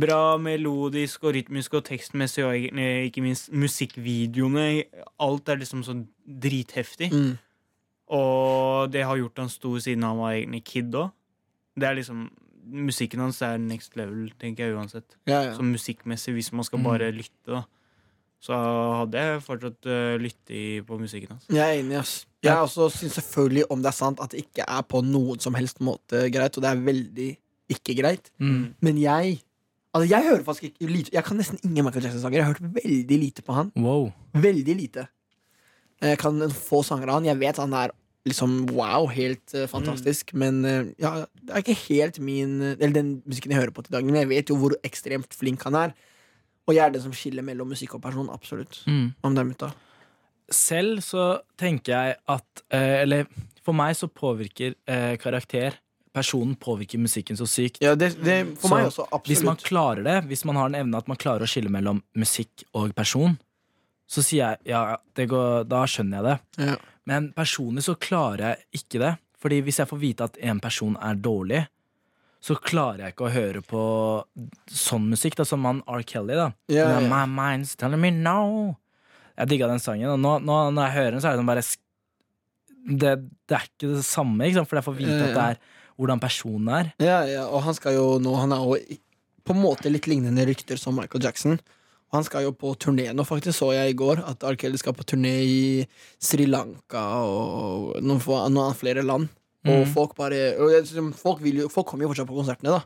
Speaker 2: bra melodisk og rytmisk og tekstmessig, og egentlig ikke minst musikkvideoene. Alt er liksom så dritheftig.
Speaker 1: Mm.
Speaker 2: Og det har gjort han stor siden han var egentlig kid òg. Det er liksom Musikken hans er next level, tenker jeg uansett.
Speaker 1: Ja, ja.
Speaker 2: Sånn musikkmessig, hvis man skal
Speaker 3: Mm.
Speaker 2: bare lytte, da. så hadde jeg fortsatt uh, lyttet i- på musikken hans.
Speaker 1: Jeg er enig, ass. Jeg også syns selvfølgelig, om det er sant, at det ikke er på noen som helst måte greit, og det er veldig ikke greit.
Speaker 3: Mm.
Speaker 1: Men jeg Altså, jeg hører faktisk ikke lite Jeg kan nesten ingen Michael Jackson-sanger. Jeg har hørt veldig lite på han.
Speaker 3: Wow.
Speaker 1: Veldig lite. Eh, Jeg kan få sanger av han. Jeg vet han er liksom wow, helt eh, fantastisk, men eh, ja, det er ikke helt min Eller den musikken jeg hører på til dagen, men jeg vet jo hvor ekstremt flink han er. Og jeg er den som skiller mellom musikk og person, absolutt.
Speaker 3: Mm.
Speaker 1: Om det er mutta.
Speaker 3: Selv så tenker jeg at eh, Eller for meg så påvirker eh, karakter Personen påvirker musikken så sykt.
Speaker 1: Ja, det, det, for
Speaker 3: Så,
Speaker 1: meg også,
Speaker 3: Hvis man
Speaker 1: absolutt.
Speaker 3: klarer det, hvis man har en evne at man klarer å skille mellom musikk og person, så sier jeg ja, det går, da skjønner jeg det.
Speaker 1: Ja.
Speaker 3: Men personlig så klarer jeg ikke det. Fordi hvis jeg får vite at en person er dårlig, så klarer jeg ikke å høre på sånn musikk. Da, som han R. Kelly, da.
Speaker 1: Ja,
Speaker 3: Den der,
Speaker 1: ja.
Speaker 3: My mind's telling me no. Jeg digga den sangen, og nå, nå når jeg hører den, så er det sånn bare sk- det, det er ikke det samme, ikke sant? for jeg får vite
Speaker 1: Ja,
Speaker 3: at det er hvordan personen er.
Speaker 1: Ja, ja, og han skal jo nå Han er jo i- på en måte litt lignende rykter som Michael Jackson. Og han skal jo på turné nå, faktisk, så jeg i går. At R. Kelly skal på turné i Sri Lanka og noen, få, noen flere land. Og
Speaker 3: Mm.
Speaker 1: folk bare og jeg synes folk, vil jo, folk kommer jo fortsatt på konsertene, da.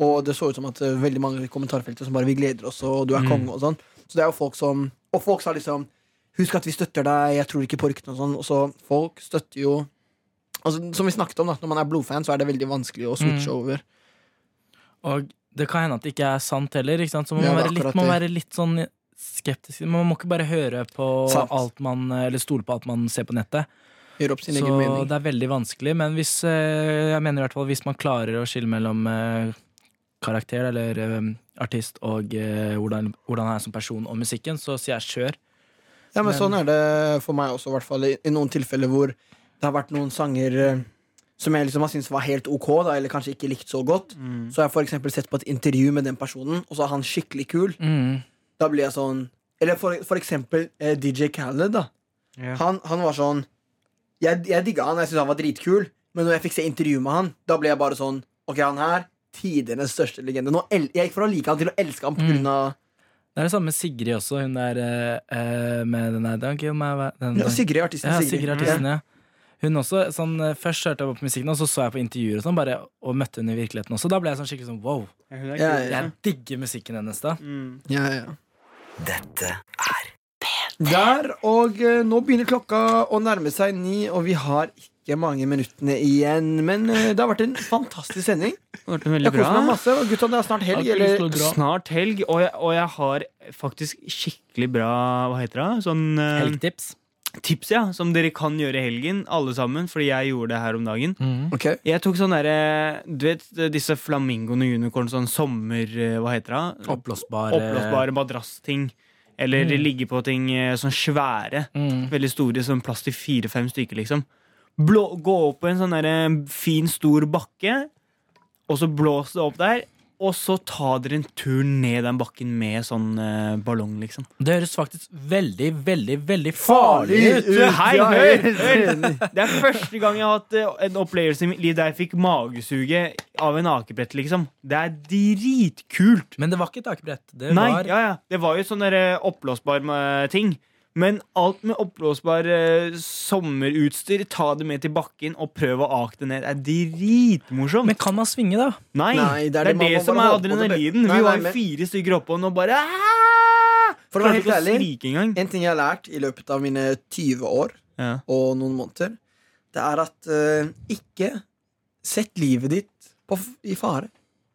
Speaker 1: Og det så ut som at eh, veldig mange i kommentarfeltet som bare 'vi gleder oss', og 'du er
Speaker 3: Mm.
Speaker 1: konge', og sånn. Så det er jo folk som Og folk sa liksom 'husk at vi støtter deg', 'jeg tror ikke på ryktene' og sånn. Og så folk støtter jo Altså, som vi snakket om, da, når man er blodfan, så er det veldig vanskelig å switche
Speaker 3: Mm.
Speaker 1: over.
Speaker 3: Og det kan hende at det ikke er sant heller, ikke sant? så man
Speaker 1: Ja,
Speaker 3: må,
Speaker 1: det er
Speaker 3: være litt,
Speaker 1: akkurat
Speaker 3: må
Speaker 1: det.
Speaker 3: være litt sånn skeptisk. Man må ikke bare høre på
Speaker 1: Sant.
Speaker 3: alt man, eh, eller stole på alt man ser på nettet.
Speaker 1: Gjør opp sin
Speaker 3: Så
Speaker 1: egen mening.
Speaker 3: det er veldig vanskelig, men hvis, eh, jeg mener i hvert fall hvis man klarer å skille mellom eh, karakter eller eh, artist og eh, hvordan, hvordan han er som person og musikken, så sier jeg kjør.
Speaker 1: Ja, men
Speaker 3: Men-
Speaker 1: sånn er det for meg også, i hvert fall i, i noen tilfeller hvor det har vært noen sanger eh, som jeg liksom har syntes var helt ok, da, eller kanskje ikke likt så godt.
Speaker 3: Mm.
Speaker 1: Så har jeg for eksempel sett på et intervju med den personen, og så er han skikkelig kul. Da blir jeg sånn Eller for, for eksempel eh, DJ Khaled, da.
Speaker 2: Ja.
Speaker 1: Han, han var sånn Jeg, jeg digga han, jeg syntes han var dritkul, men når jeg fikk se intervju med han, da ble jeg bare sånn Ok, han her, tidenes største legende. Nå el jeg gikk fra å like han til å elske han på
Speaker 3: Mm.
Speaker 1: grunn av
Speaker 3: Det er det samme med Sigrid også, hun der eh, eh, med den der Don't give my wa- den,
Speaker 1: ja, Sigrid, artisten
Speaker 3: Mm. Ja,
Speaker 1: Sigrid.
Speaker 3: Sigrid Artisten, ja. Hun også, sånn, eh, Først hørte jeg på musikken, og så så jeg på intervjuer og sånn, bare, og møtte henne i virkeligheten også. Da ble jeg sånn skikkelig sånn wow.
Speaker 2: Ja, hun er
Speaker 1: Ja,
Speaker 2: kul,
Speaker 3: Jeg
Speaker 2: liksom.
Speaker 3: digger musikken hennes, da.
Speaker 2: Mm.
Speaker 1: Ja, ja. Dette er Der, og eh, nå begynner klokka å nærme seg ni, og vi har ikke mange minuttene igjen. Men eh, det har vært en fantastisk sending.
Speaker 2: Det har vært en
Speaker 1: Jeg
Speaker 2: veldig
Speaker 1: koser meg
Speaker 2: bra.
Speaker 1: masse. Og gutta, det er snart helg.
Speaker 3: Har ikke lyst
Speaker 1: Eller
Speaker 3: til å dra.
Speaker 2: Snart helg, og jeg, og jeg har faktisk skikkelig bra Hva heter det? Sånn
Speaker 1: Mm.
Speaker 2: eh,
Speaker 3: Helgtips.
Speaker 2: tips, ja, som dere kan gjøre i helgen, alle sammen, fordi jeg gjorde det her om dagen.
Speaker 1: Ok.
Speaker 2: Jeg tok sånn derre Du vet disse flamingoene og unicorn, sånn sommer... eh, Hva heter det?
Speaker 3: Oppblåsbare
Speaker 2: Oppblåsbare madrassting. Eller
Speaker 3: Mm.
Speaker 2: ligge på ting eh, sånn svære.
Speaker 3: Mm.
Speaker 2: Veldig store, sånn plass til fire-fem stykker, liksom. Blå, gå opp på en sånn der, eh, fin, stor bakke, og så blås det opp der. Og så ta dere en tur ned den bakken med sånn eh, ballong, liksom.
Speaker 3: Det høres faktisk veldig, veldig, veldig farlig ut!
Speaker 2: ut. Hei,
Speaker 1: Ja,
Speaker 2: hør,
Speaker 1: jeg er helt enig.
Speaker 2: Det er første gang jeg har hatt eh, en opplevelse i mitt liv der jeg fikk magesuget av en akebrett, liksom. Det er dritkult.
Speaker 3: Men det var ikke et akebrett. Det
Speaker 2: Nei,
Speaker 3: var
Speaker 2: ja, ja. Det var jo sånn derre oppblåsbar eh, ting. Men alt med oppblåsbar eh, sommerutstyr, ta det med til bakken og prøv å ake det ned. Det er dritmorsomt.
Speaker 3: Men kan man svinge, da?
Speaker 2: Nei,
Speaker 1: Nei,
Speaker 2: det er det,
Speaker 1: man må
Speaker 2: som
Speaker 1: bare
Speaker 2: er
Speaker 1: håpe på det be-
Speaker 2: adrenalinen.
Speaker 1: Nei,
Speaker 2: Vi var
Speaker 1: nei, men-
Speaker 2: fire stykker oppå den og bare «Ah!»
Speaker 1: For å være helt
Speaker 2: Klarte ikke å
Speaker 1: ærlig-
Speaker 2: skrike engang.
Speaker 1: En ting jeg har lært i løpet av mine 20 år
Speaker 2: Ja.
Speaker 1: og noen måneder, det er at eh, ikke sett livet ditt på, f- i fare.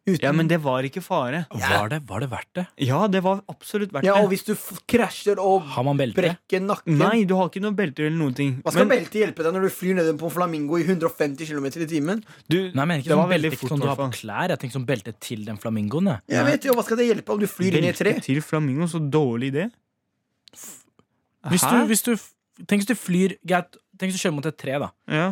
Speaker 1: Uten
Speaker 2: ja, men det var ikke fare.
Speaker 3: Var det, var det verdt det?
Speaker 2: Ja, det var absolutt verdt
Speaker 1: Ja, og
Speaker 2: det.
Speaker 1: hvis du f krasjer og
Speaker 3: Har man belte?
Speaker 1: brekker nakken
Speaker 2: Nei, du har ikke noe belte eller noen ting.
Speaker 1: Hva skal beltet hjelpe deg når du flyr ned på en flamingo i 150 km i timen?
Speaker 2: du,
Speaker 3: Nei, men ikke
Speaker 2: det var
Speaker 3: sånn
Speaker 2: veldig
Speaker 3: belte
Speaker 2: fort,
Speaker 3: som du har på
Speaker 2: hvertfall.
Speaker 3: klær. Jeg tenker sånn belte til den flamingoen. jeg.
Speaker 1: Jeg vet jo, Hva skal det hjelpe om du flyr inn i et tre?
Speaker 2: Belte til flamingo, så dårlig idé.
Speaker 3: Hvis du,
Speaker 2: Hæ?
Speaker 3: hvis du, f- tenk hvis du flyr greit, Tenk hvis du kjører mot et tre, da.
Speaker 2: Ja.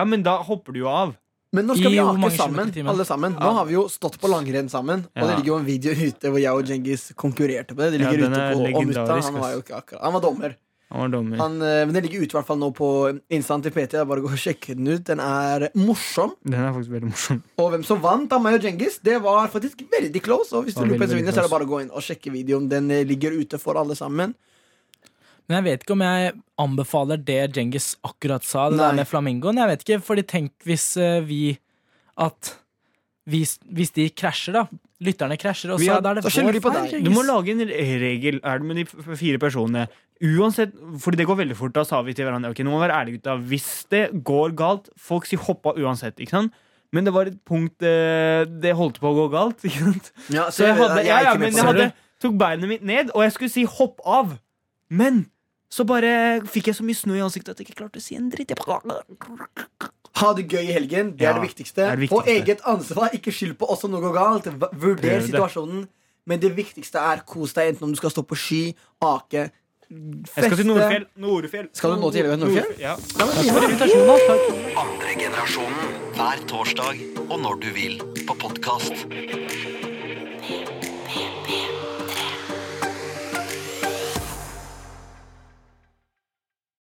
Speaker 2: ja, men da hopper du jo av.
Speaker 1: Men nå skal
Speaker 3: I
Speaker 1: vi
Speaker 3: hvor
Speaker 1: ake
Speaker 3: mange
Speaker 1: sammen,
Speaker 3: kilometer i timen?
Speaker 1: alle sammen. Nå har vi jo stått på langrenn sammen, og det
Speaker 2: Ja.
Speaker 1: ligger jo en video ute hvor jeg og Djengis konkurrerte på det. Det
Speaker 2: Ja,
Speaker 1: ligger
Speaker 2: den
Speaker 1: ute
Speaker 2: er
Speaker 1: på Omuta.
Speaker 2: legendarisk,
Speaker 1: Han var
Speaker 2: ass.
Speaker 1: jo ikke akkurat Han var dommer.
Speaker 2: Han var dommer.
Speaker 1: Han, eh, men Den ligger ute i hvert fall nå på Instaen til PT. Det er Bare gå og sjekke den ut. Den er morsom.
Speaker 2: Den er faktisk veldig morsom.
Speaker 1: Og hvem som vant av meg og Djengis, det var faktisk veldig close. Og hvis du
Speaker 2: Ja,
Speaker 1: lurer på hvem
Speaker 2: veldig,
Speaker 1: som
Speaker 2: veldig
Speaker 1: vinner, så er det bare å gå inn og sjekke videoen. Den eh, ligger ute for alle sammen.
Speaker 3: Men jeg vet ikke om jeg anbefaler det Djengis akkurat sa, det
Speaker 1: Nei.
Speaker 3: der med flamingoen. Jeg vet ikke, fordi tenk hvis eh, vi At hvis, hvis de krasjer, da. Lytterne krasjer, og
Speaker 1: Vi
Speaker 3: så
Speaker 1: har-
Speaker 3: da er det
Speaker 1: da skylder de på
Speaker 3: feil,
Speaker 1: deg.
Speaker 3: Djengis.
Speaker 2: Du må lage en regel. Er det med de f- fire personene? Uansett, fordi det går veldig fort, da sa vi til hverandre Ok, nå må vi være ærlige, gutta. Hvis det går galt Folk sier hoppa uansett, ikke sant? Men det var et punkt eh, det holdt på å gå galt. [laughs] Ikke sant? Så jeg hadde, ja, ja, men jeg hadde, tok beinet mitt ned, og jeg skulle si hopp av. Men så bare fikk jeg så mye snø i ansiktet at jeg ikke klarte å si en dritt. Jeg bare...
Speaker 1: Ha det gøy i helgen. Det er
Speaker 2: Ja,
Speaker 1: det viktigste.
Speaker 2: det er det
Speaker 1: På
Speaker 2: viktigste.
Speaker 1: eget ansvar. Ikke skyld på oss om noe går galt. V- Vurder
Speaker 2: Prøv det.
Speaker 1: situasjonen. Men det viktigste er kos deg, enten om du skal stå på ski, ake, feste
Speaker 2: Jeg skal til Nordfjell. Nordfjell.
Speaker 1: Skal du nå til Elveveien Nordfjell?
Speaker 2: Ja.
Speaker 1: Ja, men fint.
Speaker 5: Andre generasjonen hver torsdag og når du vil på podkast.